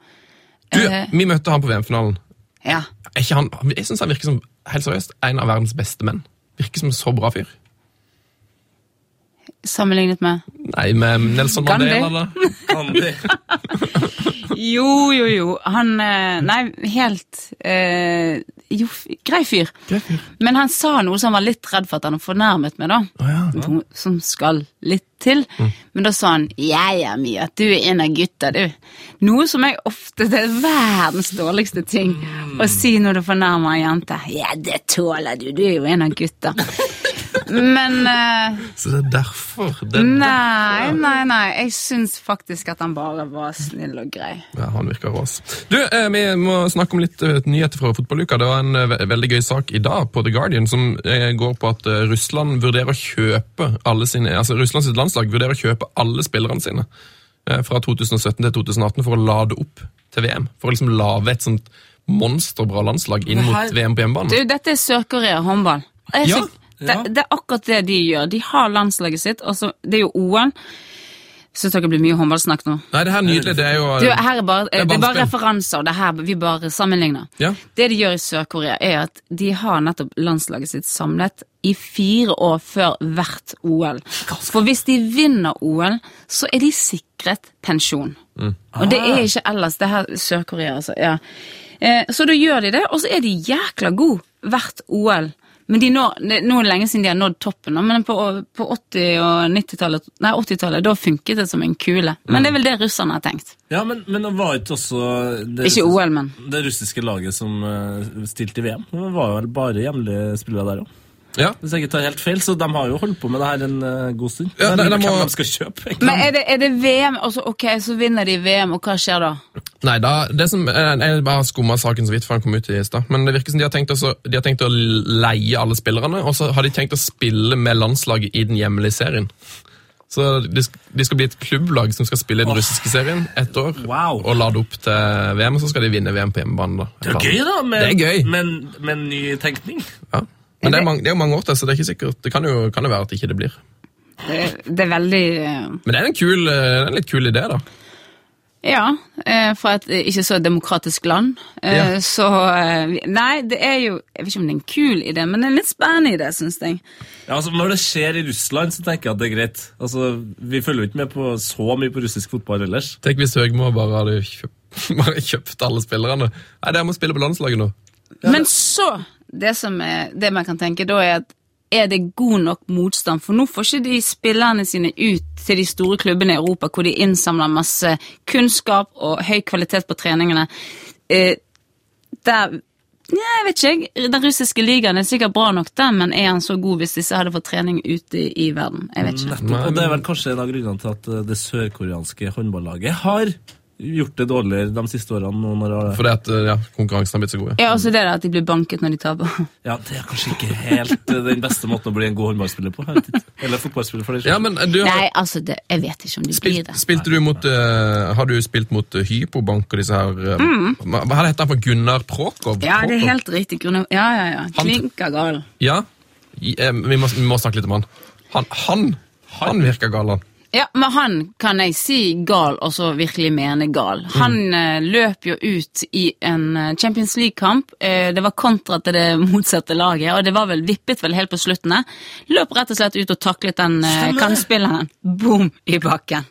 Speaker 4: Du,
Speaker 6: Eh.
Speaker 4: vi møtte han på VM-finalen.
Speaker 6: Ja.
Speaker 4: Er ikke han, jeg synes han virker som, helt seriøst, en av verdens beste menn. Virker som en så bra fyr.
Speaker 6: Sammenlignet med
Speaker 4: Nei, med Nelson
Speaker 6: Gandhi.
Speaker 4: Mandela, da.
Speaker 5: Gandhi.
Speaker 6: Jo, jo, jo. Han eh, Nei, helt eh, Jo, f- grei fyr. Men han sa noe som han var litt redd for at han hadde fornærmet meg, da. Noe Som skal litt til. Men da sa han 'Jeg er mye, at du er en av gutta, du'. Noe som jeg ofte Det er verdens dårligste ting å si når du fornærmer en jente. 'Ja, det tåler du, du er jo en av gutta'. Men eh,
Speaker 4: Så det er derfor. Det er
Speaker 6: Nei, nei, nei. Jeg syns faktisk at han bare var snill og grei.
Speaker 4: Ja, han virker rå, ass. Du, eh, vi må snakke om litt eh, nyheter fra fotballuka. Det var en eh, ve- veldig gøy sak i dag på The Guardian som eh, går på at eh, Russland vurderer å kjøpe alle sine, altså Russlands landslag vurderer å kjøpe alle spillerne sine eh, fra 2017 til 2018 for å lade opp til VM. For å liksom lage et sånt monsterbra landslag inn mot VM på
Speaker 6: Du,
Speaker 4: hjemmebane.
Speaker 6: dette er Sør-Korea håndball. Og jeg
Speaker 4: Ja,
Speaker 6: syns- det, det er akkurat det de gjør. De har landslaget sitt, og så Det er jo OL. Syns dere blir mye håndballsnakk nå?
Speaker 4: Nei, det her er nydelig. Det er jo
Speaker 6: Du, her er bare, det
Speaker 4: er
Speaker 6: er bare,
Speaker 4: bandspill.
Speaker 6: referanser, og det er her vi bare sammenligner.
Speaker 4: Ja.
Speaker 6: Det de gjør i Sør-Korea, er at de har nettopp landslaget sitt samlet i fire år før hvert OL. For hvis de vinner OL, så er de sikret pensjon. Og det er ikke ellers. Det er her Sør-Korea, altså. Ja. Eh, Så da gjør de det, og så er de jækla gode hvert OL. Men de når, det, nå er det lenge siden de har nådd toppen, nå, men på, på 80- og 90-tallet, nei 80-tallet, da funket det som en kule. Men det er vel det russerne har tenkt.
Speaker 5: Ja, men, men det var ikke også det
Speaker 6: Ikke OL, men.
Speaker 5: Det russiske laget som eh, stilte i VM. Det var vel bare hjemlige spillere der òg.
Speaker 4: Ja.
Speaker 5: Hvis jeg ikke tar helt feil, så de har jo holdt på med det her en eh, god stund.
Speaker 4: Ja,
Speaker 5: Jeg
Speaker 4: nei,
Speaker 5: lurer
Speaker 4: de
Speaker 5: på
Speaker 4: må-
Speaker 5: hvem de skal kjøpe. egentlig.
Speaker 6: Men er det, er det VM? Og så, ok, så vinner de VM, og hva skjer da?
Speaker 4: Nei, da, det som, eh, jeg bare skumma saken så vidt før han kom ut i stad. Men det virker som de har, tenkt også, de har tenkt å leie alle spillerne, og så har de tenkt å spille med landslaget i den hjemlige serien. Så de, sk- de skal bli et klubblag som skal spille i den russiske serien ett år.
Speaker 5: Wow.
Speaker 4: Og lade opp til VM, og så skal de vinne VM på hjemmebane. da.
Speaker 5: Det er gøy, da, med,
Speaker 4: Det er gøy.
Speaker 5: Men, men ny tenkning.
Speaker 4: Ja. Men det er, mange, det er jo mange år til, så det er ikke sikkert. Det kan jo, kan jo være at ikke det blir.
Speaker 6: Det, det er veldig eh,
Speaker 4: Men det er en, kul, eh, det er en litt kul idé, da.
Speaker 6: Ja, eh, fra et eh, ikke så demokratisk land. Eh,
Speaker 4: Ja.
Speaker 6: Så eh, Nei, det er jo Jeg vet ikke om det er en kul idé, men det er en litt spennende idé, syns jeg.
Speaker 5: Ja, altså, når det skjer i Russland, så tenker jeg at det er greit. Altså, Vi følger jo ikke med på så mye på russisk fotball ellers.
Speaker 4: Tenk hvis Høgmo bare hadde kjøpt, [laughs] bare kjøpt alle spillerne. Nei, det er med å spille på landslaget nå.
Speaker 6: Men så det, som er, det man kan tenke da, er at er det god nok motstand? For nå får ikke de spillerne sine ut til de store klubbene i Europa, hvor de innsamler masse kunnskap og høy kvalitet på treningene. Eh, der ja, jeg vet ikke, jeg. Den russiske ligaen er sikkert bra nok, den, men er han så god hvis disse hadde fått trening ute i verden? Jeg vet ikke.
Speaker 4: Nei,
Speaker 5: Og det er vel kanskje en av grunnene til at eh, det sørkoreanske håndballaget har gjort det dårligere de siste årene. nå Når det har...
Speaker 4: Fordi at eh, ja, konkurransen har blitt så god.
Speaker 6: Ja, også det der at de blir banket når de taper.
Speaker 5: Ja, Det er kanskje ikke helt eh, den beste måten å bli en god håndballspiller på. jeg vet ikke. Eller fotballspiller, for det
Speaker 4: Ja, men eh, du har
Speaker 6: Nei, altså, det, jeg vet ikke om de blir
Speaker 4: spilt,
Speaker 6: det.
Speaker 4: spilte du mot eh, Har du spilt mot eh, Hypobank og disse her eh, Hva hva heter han for Gunnar Prokov?
Speaker 6: Mm. Ja, det er
Speaker 4: Prokov?
Speaker 6: helt riktig. Grunn- Ja, ja, ja.
Speaker 4: Han-
Speaker 6: Klinker gal.
Speaker 4: Ja. i- eh, vi, må, vi må snakke litt om han. Han, han, han virker gal, han.
Speaker 6: Ja, men han kan jeg si gal, og så virkelig mene gal. Han eh, løp jo ut i en eh, Champions League-kamp. Eh, det var kontra til det [laughs] motsatte laget, og det var vel vippet vel helt på slutten. der. Løp rett og slett ut og taklet den eh, kantspilleren. Boom! I bakken.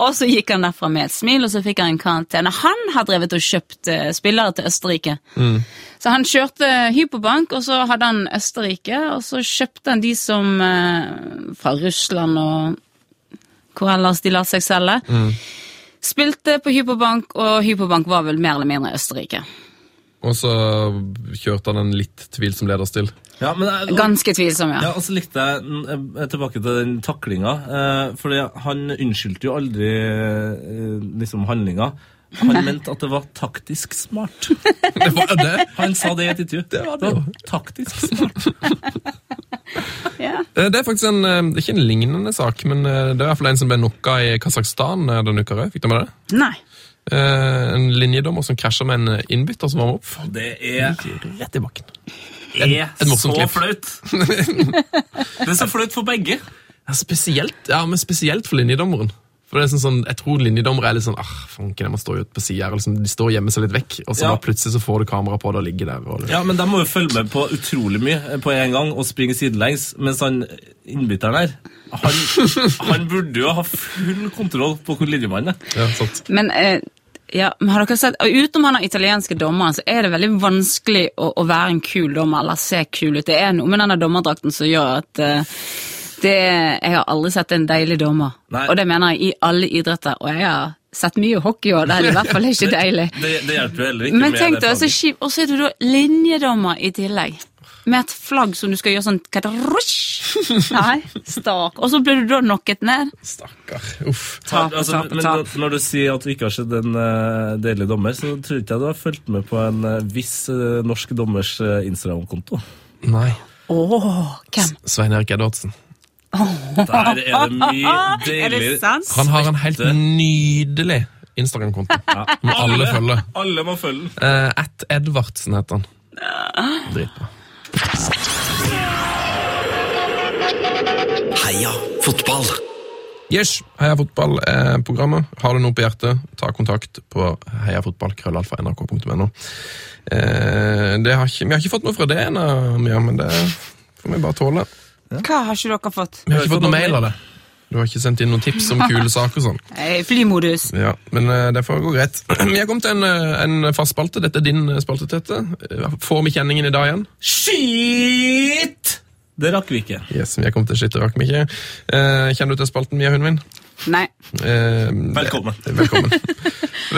Speaker 6: Og så gikk han derfra med et smil, og så fikk han en karantene. Han har drevet og kjøpt eh, spillere til Østerrike. Så han kjørte eh, hyperbank, og så hadde han Østerrike, og så kjøpte han de som eh, fra Russland og hvor ellers de lar seg selge. Spilte på hyperbank, og hyperbank var vel mer eller mindre Østerrike.
Speaker 4: Og så kjørte han en litt tvilsom lederstil. [laughs]
Speaker 5: Ja, men jeg-
Speaker 6: Ganske tvilsom, ja.
Speaker 5: Ja, og så likte jeg den- eh, tilbake til den taklinga. Eh, fordi han unnskyldte jo aldri eh, liksom handlinga. Han mente at det var taktisk smart.
Speaker 4: Det var jo det!
Speaker 5: Han sa det i et intervju.
Speaker 4: Det var det jo.
Speaker 5: taktisk smart.
Speaker 6: Ja.
Speaker 4: Eh, Det er faktisk en, eh, det er ikke en lignende sak, men eh, det er i hvert fall en som ble knocka i Kasakhstan eh, denne uka òg. Fikk du med deg det?
Speaker 6: Nei.
Speaker 4: Eh, En linjedommer som krasja med en eh, innbytter som varma opp.
Speaker 5: Det er,
Speaker 4: Rett i bakken.
Speaker 5: er
Speaker 4: et morsomt
Speaker 5: så
Speaker 4: klipp.
Speaker 5: flaut. Det er så flaut for begge.
Speaker 4: Ja, spesielt, ja, men spesielt for linjedommeren. For det er sånn, sånn, Jeg tror linjedommere er litt sånn ah, fanken, jeg må stå ut på siden her, liksom, De står og gjemmer seg litt vekk, og så
Speaker 5: Ja.
Speaker 4: bare plutselig så får du kamera på det og ligger der. Og,
Speaker 5: Ja, men De må jo følge med på utrolig mye eh, på en gang og springe sidelengs, mens han innbytteren her han, han burde jo ha full kontroll på hvor linjemannen er.
Speaker 4: ja, sant.
Speaker 6: Men, eh, ja, men har dere sett, og utenom han har italienske dommeren, så er det veldig vanskelig å, å være en kul dommer, eller se kul ut. Det er noe med denne dommerdrakten som gjør at eh, det, jeg har aldri sett en deilig dommer.
Speaker 5: Nei.
Speaker 6: Og det mener jeg i alle idretter, og jeg har sett mye hockey, og det er det i hvert fall ikke deilig.
Speaker 5: Det, det hjelper jo heller ikke
Speaker 6: Men
Speaker 5: med
Speaker 6: tenk
Speaker 5: det
Speaker 6: deg, så
Speaker 5: flagget.
Speaker 6: kjipt. Og så er du da linjedommer i tillegg. Med et flagg som du skal gjøre sånn
Speaker 5: [laughs]
Speaker 6: kadrush. Nei, stak. Og så blir du da knocket ned.
Speaker 4: Stakkar. Uff.
Speaker 6: Tap og
Speaker 5: Altså,
Speaker 6: tap og
Speaker 5: men
Speaker 6: tap.
Speaker 5: når- Når du sier at du ikke har sett en eh, deilig dommer, så tror ikke jeg du har fulgt med på en eh, viss eh, norsk dommers eh, Instagram-konto.
Speaker 4: Nei.
Speaker 6: Åh, hvem?
Speaker 4: Svein Erik Edvardsen.
Speaker 5: Der er det mye
Speaker 6: [laughs] Er det
Speaker 5: deilig
Speaker 6: sant?
Speaker 4: Han har en helt nydelig Instagram-konto. Må alle følge.
Speaker 5: Alle må følge den.
Speaker 4: Eh, At Edvardsen heter han. Dritbra.
Speaker 3: Heia fotball!
Speaker 4: Yes, Heia fotball-programmet. Har du noe på hjertet, ta kontakt på heiafotballkrøllalfa.nrk.no. Eh, det har ikke, vi har ikke fått noe fra det ennå, Mia, men det får vi bare tåle.
Speaker 6: Hva har ikke dere fått?
Speaker 4: Vi har ikke fått noe mail av det. Du har ikke sendt inn noen tips om kule saker og sånn.
Speaker 6: Eh, Flymodus.
Speaker 4: Ja, Men eh, det får gå greit. [clears throat] Vi har kommet til en, eh, en fast spalte. Dette er din eh, spalte, Tete. Eh, Får vi kjenningen i dag igjen?
Speaker 5: Shit! Det rakk vi ikke.
Speaker 4: Yes, vi har kommet til shit, det rakk vi ikke. Eh, kjenner du til spalten Mia Hundvin?
Speaker 6: Nei.
Speaker 4: Eh,
Speaker 5: Velkommen.
Speaker 4: det- [laughs] Velkommen.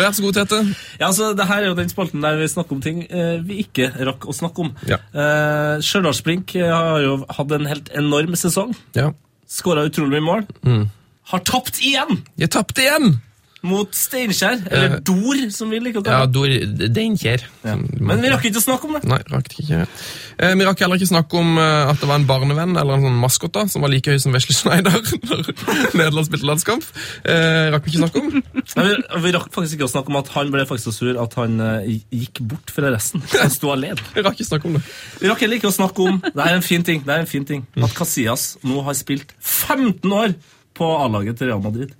Speaker 4: Vær så god, Tete.
Speaker 5: Ja, altså, det her er jo den spalten der vi snakker om ting eh, vi ikke rakk å snakke om.
Speaker 4: Ja.
Speaker 5: Eh, Stjørdalsblink eh, har jo hatt en helt enorm sesong.
Speaker 4: Ja.
Speaker 5: Skåra utrolig mye mål.
Speaker 4: Mm.
Speaker 5: Har tapt igjen
Speaker 4: Jeg tapte igjen!
Speaker 5: mot Steinkjer. Eller
Speaker 4: Eh,
Speaker 5: Dor, som vi liker å
Speaker 4: Ja,
Speaker 5: kalle det.
Speaker 4: da er det- det er en kjær.
Speaker 5: Men vi rakk ikke å snakke om det.
Speaker 4: Nei, rakk det ikke. Eh, vi rakk heller ikke snakke om eh, at det var en barnevenn eller en sånn maskot da, som var like høy som Vesle Schneider [laughs] når Nederland spilte landskamp. Eh, rakk vi ikke snakke om.
Speaker 5: Nei, vi, vi rakk faktisk ikke å snakke om at han ble faktisk så sur at han eh, gikk bort fra
Speaker 4: [laughs]
Speaker 5: resten. Så Han sto alene.
Speaker 4: Vi rakk ikke snakke om det.
Speaker 5: Vi rakk heller ikke å snakke om det er en fin ting, det er en fin ting,
Speaker 4: Mm.
Speaker 5: at Casillas nå har spilt 15 år på A-laget til Real Madrid.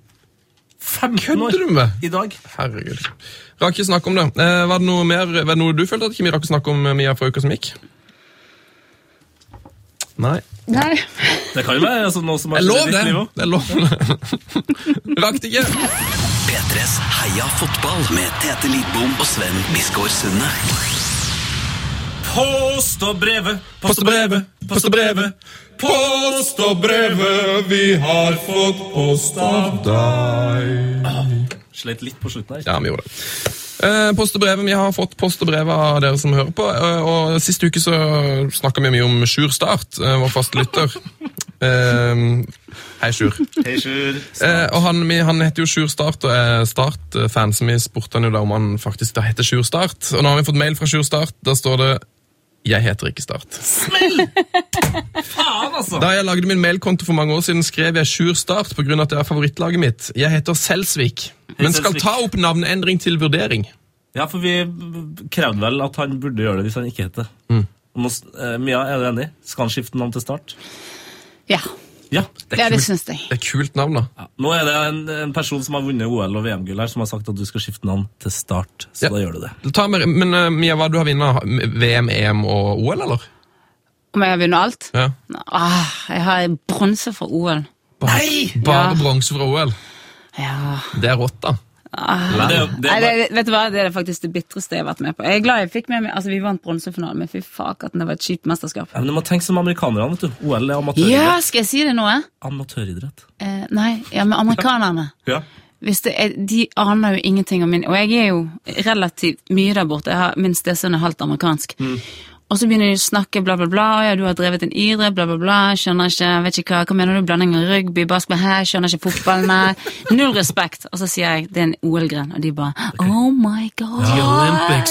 Speaker 5: 15 år
Speaker 4: Kødder du med?
Speaker 5: i dag.
Speaker 4: Herregud. Rakk ikke snakke om det. Eh, var, det noe mer, var det noe du følte at ikke vi rakk å snakke om eh, Mia fra uka som gikk? Nei.
Speaker 6: Nei.
Speaker 5: Det kan jo være altså, noe som har
Speaker 4: Jeg
Speaker 5: skjedd i
Speaker 4: lov
Speaker 5: ditt
Speaker 4: det!
Speaker 5: liv også.
Speaker 4: Jeg lov [laughs] det. Rakk det ikke.
Speaker 3: P3s Heia fotball med Tete Lidbom og Sven Biskår Sunde.
Speaker 5: Post og brevet, post og
Speaker 4: brevet, post og brevet. Post og brevet vi har fått post av deg.
Speaker 5: Slet litt på slutten her.
Speaker 4: Ja, vi gjorde det. Eh, Post og brevet, Vi har fått post og brev av dere som hører på. eh, og Sist uke så snakka vi mye om Sjur Start, eh, vår faste [laughs] lytter. Eh, hei, Sjur.
Speaker 5: Hei, Sjur.
Speaker 4: Eh, og han, vi, han heter jo Sjur Start og er Start-fan, så vi spurte han jo da om han faktisk da heter Sjur Start. Og nå har vi fått mail fra Sjur Start. Der står det 'Jeg heter ikke Start'.
Speaker 5: Faen, altså!
Speaker 4: Da jeg lagde min mailkonto for mange år siden, skrev jeg Sjur Start pga. at det er favorittlaget mitt. Jeg heter Selsvik, men skal
Speaker 5: Selsvik.
Speaker 4: ta opp navneendring til vurdering. Mm.
Speaker 5: Ja, for vi krevde vel at han burde gjøre det hvis han ikke het det. Nå, s- eh, Mia, er du enig? Skal han skifte navn til Start?
Speaker 6: Ja,
Speaker 5: Ja. Det
Speaker 6: ja
Speaker 5: er
Speaker 6: det
Speaker 5: kult.
Speaker 6: syns jeg.
Speaker 4: Det er et kult navn, da.
Speaker 5: Ja. Nå er det en, en person som har vunnet OL og VM-gull her, som har sagt at du skal skifte navn til Start. Så
Speaker 4: Ja.
Speaker 5: da gjør du det.
Speaker 4: Ta med, men eh, Mia, hva du har vunnet? VM, EM E og OL, eller?
Speaker 6: Om jeg har vunnet alt?
Speaker 4: Ja.
Speaker 6: Ah, jeg har bronse fra OL.
Speaker 4: Bare,
Speaker 6: Ja.
Speaker 4: Bare bronse fra OL.
Speaker 6: Ja.
Speaker 4: Det er rått, da.
Speaker 5: Men det, er jo- det,
Speaker 6: Nei,
Speaker 5: er
Speaker 6: det,
Speaker 5: bare-
Speaker 6: vet du hva? det er faktisk det bitreste jeg har vært med på. Jeg er glad jeg fikk med meg, altså Vi vant bronsefinalen, men fy faken, det var et kjipt mesterskap.
Speaker 5: Ja, men du må tenke som amerikanerne, vet du. OL er amatøridrett.
Speaker 6: Ja, skal jeg si det nå? eh?
Speaker 5: Amatøridrett.
Speaker 6: Eh, nei, ja, men amerikanerne
Speaker 5: Ja.
Speaker 6: hvis det er, De aner jo ingenting om min Og jeg er jo relativt mye der borte. Jeg har, min stesønn er halvt amerikansk.
Speaker 4: Mm.
Speaker 6: Og så begynner de å snakke bla, bla, bla. «Å Ja, du har drevet en idrett, bla, bla, bla. Skjønner ikke Vet ikke hva. Hva mener du? Blanding av rugby, basketball her? Skjønner ikke fotball,
Speaker 4: [laughs]
Speaker 6: nei. Null respekt. Og så sier jeg det er en OL-gren, og de bare Oh my God.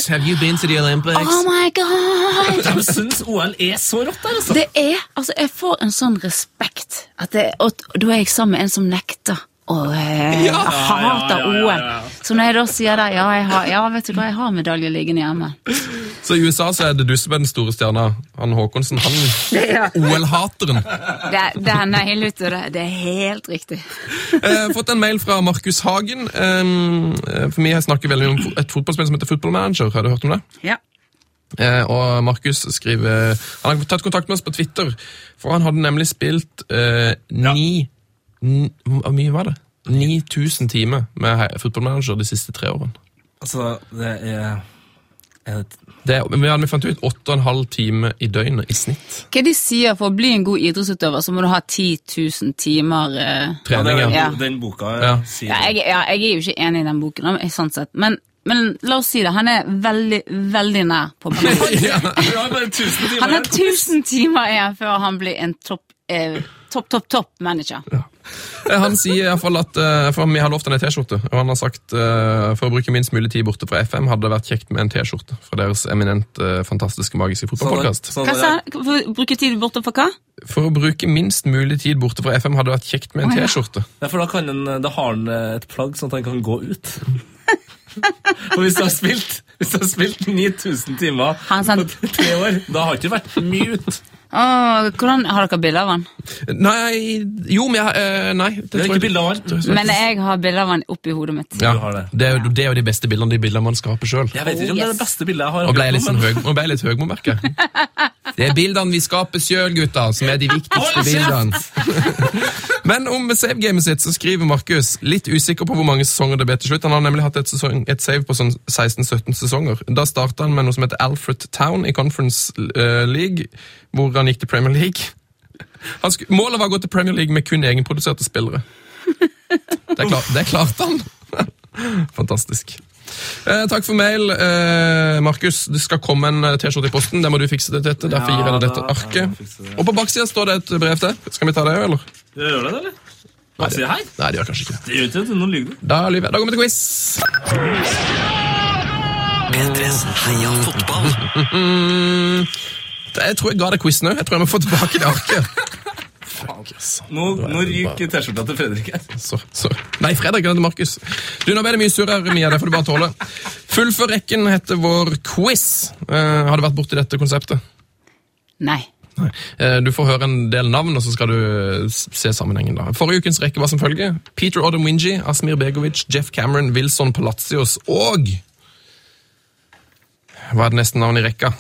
Speaker 4: Have you been to the Olympics?
Speaker 6: Oh my god!
Speaker 5: De syns OL er så rått der, altså!
Speaker 6: Det er, altså Jeg får en sånn respekt. At det, og t- da er jeg sammen med en som nekter. Og eh, hater
Speaker 5: ja, ja, ja, ja.
Speaker 6: OL. Så når jeg da sier det, ja, jeg har, ja vet du hva, jeg har medalje liggende hjemme.
Speaker 4: Så i USA så er det du som er den store stjerna. Han Håkonsen, han OL-hateren.
Speaker 6: Det, det er nei, lytt til det. Det er helt riktig.
Speaker 4: Eh, fått en mail fra Markus Hagen. Eh, for Vi snakker veldig om fo- et fotballspill som heter Football Manager. Har du hørt om det?
Speaker 6: Ja.
Speaker 4: Eh, og Markus skriver Han har tatt kontakt med oss på Twitter, for han hadde nemlig spilt eh, ni n- Hvor mye var det? 9000 timer med he- Football Manager de siste tre årene.
Speaker 5: Altså, det er, er det,
Speaker 4: Det, er- vi, hadde, vi fant ut 8,5 timer i døgnet i snitt.
Speaker 6: Hva de sier for å bli en god idrettsutøver, så må du ha 10 000 timer eh.
Speaker 5: ja, det er,
Speaker 4: Treninger.
Speaker 6: Ja.
Speaker 5: Den boka
Speaker 4: Ja.
Speaker 5: sier
Speaker 6: ja, jeg, ja, jeg er jo ikke enig i den boken, om- sånn sett. Men, men la oss si det. Han er veldig, veldig nær
Speaker 5: [laughs]
Speaker 6: på meg.
Speaker 4: [laughs] Ja.
Speaker 5: Du har bare 1000 timer
Speaker 6: [laughs] Han har
Speaker 5: her.
Speaker 6: 1000 timer igjen før han blir en topp, eh, topp, topp, topp manager.
Speaker 4: Eh, Han sier i hvert fall at eh, for vi har lovt han ei T-skjorte, og han har sagt eh, for å bruke minst mulig tid borte fra FM hadde det vært kjekt med en T-skjorte fra deres eminent eh, fantastiske magiske
Speaker 5: Sånn
Speaker 4: fotballpodkast.
Speaker 5: Så
Speaker 6: Hva
Speaker 5: da-
Speaker 6: sa han? Bruke tid borte for hva?
Speaker 4: For å bruke minst mulig tid borte fra FM hadde det vært kjekt med en
Speaker 6: Å, ja.
Speaker 4: T-skjorte.
Speaker 5: Ja, for da, kan han, da har han eh, et plagg sånn at han kan gå
Speaker 6: [laughs]
Speaker 5: ut. Og hvis du har spilt, hvis du har spilt 9000 timer
Speaker 6: Han sa-
Speaker 5: på tre år, da har det ikke vært mye ut.
Speaker 6: Åh, hvordan, har dere bilder av han?
Speaker 4: Nei Jo, men jeg eh, Nei. Det,
Speaker 5: Det er
Speaker 4: tror jeg-
Speaker 5: ikke bilde av han.
Speaker 6: Men jeg har bilder av han oppi hodet mitt.
Speaker 4: Ja,
Speaker 5: Du har det.
Speaker 4: det, er, jo- det er jo de beste bildene, de bildene man skaper sjøl.
Speaker 5: Jeg vet ikke om det er det beste bildet jeg har.
Speaker 4: Nå ble jeg litt,
Speaker 5: hørt om,
Speaker 4: sånn
Speaker 5: men-
Speaker 4: høy, nå ble jeg litt høy, må jeg merke. Det er bildene vi skaper sjøl, gutter, som er de viktigste bildene. [laughs] Men om savegamet sitt så skriver Markus litt usikker på hvor mange sesonger det ble til slutt. Han har nemlig hatt et, sesong, et save på sånn 16-17 sesonger. Da starta han med noe som heter Alfred Town i Conference eh, League, hvor han gikk til Premier League. Han sku, målet var å gå til Premier League med kun egenproduserte spillere. Det, klar, det klarte han. [laughs] Fantastisk. Eh, takk for mail, eh, Markus. Det skal komme en eh, T-skjorte i posten. Det må du fikse til dette. Derfor gir jeg deg dette
Speaker 5: da- ja, jeg
Speaker 4: arket.
Speaker 5: fikser det.
Speaker 4: Og på baksida står det et brev til. Skal vi ta det òg, eller?
Speaker 5: Gjør det det, eller? Hva sier jeg her?
Speaker 4: Nei, det gjør kanskje ikke det.
Speaker 5: Det gjør ikke det, nå lyver du.
Speaker 4: Da lyver jeg. Da går vi til quiz.
Speaker 3: P3s Heia fotball.
Speaker 4: Det- Jeg tror jeg ga deg quizen òg. Jeg tror jeg må få tilbake det arket. Fuck, ass.
Speaker 5: Nå, nå ryker T-skjorta til Fredrik her.
Speaker 4: Så, så. Nei, Fredrik er til Markus. Du, Nå ble det mye surr her, Mia. Det får du bare tåle. Fullfør rekken heter vår quiz. Eh, har du vært borti dette konseptet?
Speaker 6: Nei.
Speaker 4: Nei. Eh, Du får høre en del navn, og så skal du eh, s- se sammenhengen. da. Forrige ukens rekke var som følger. Peter Odom Wingy, Asmir Begovic, Jeff Cameron, Wilson Palacios og Hva er det neste navnet i rekka?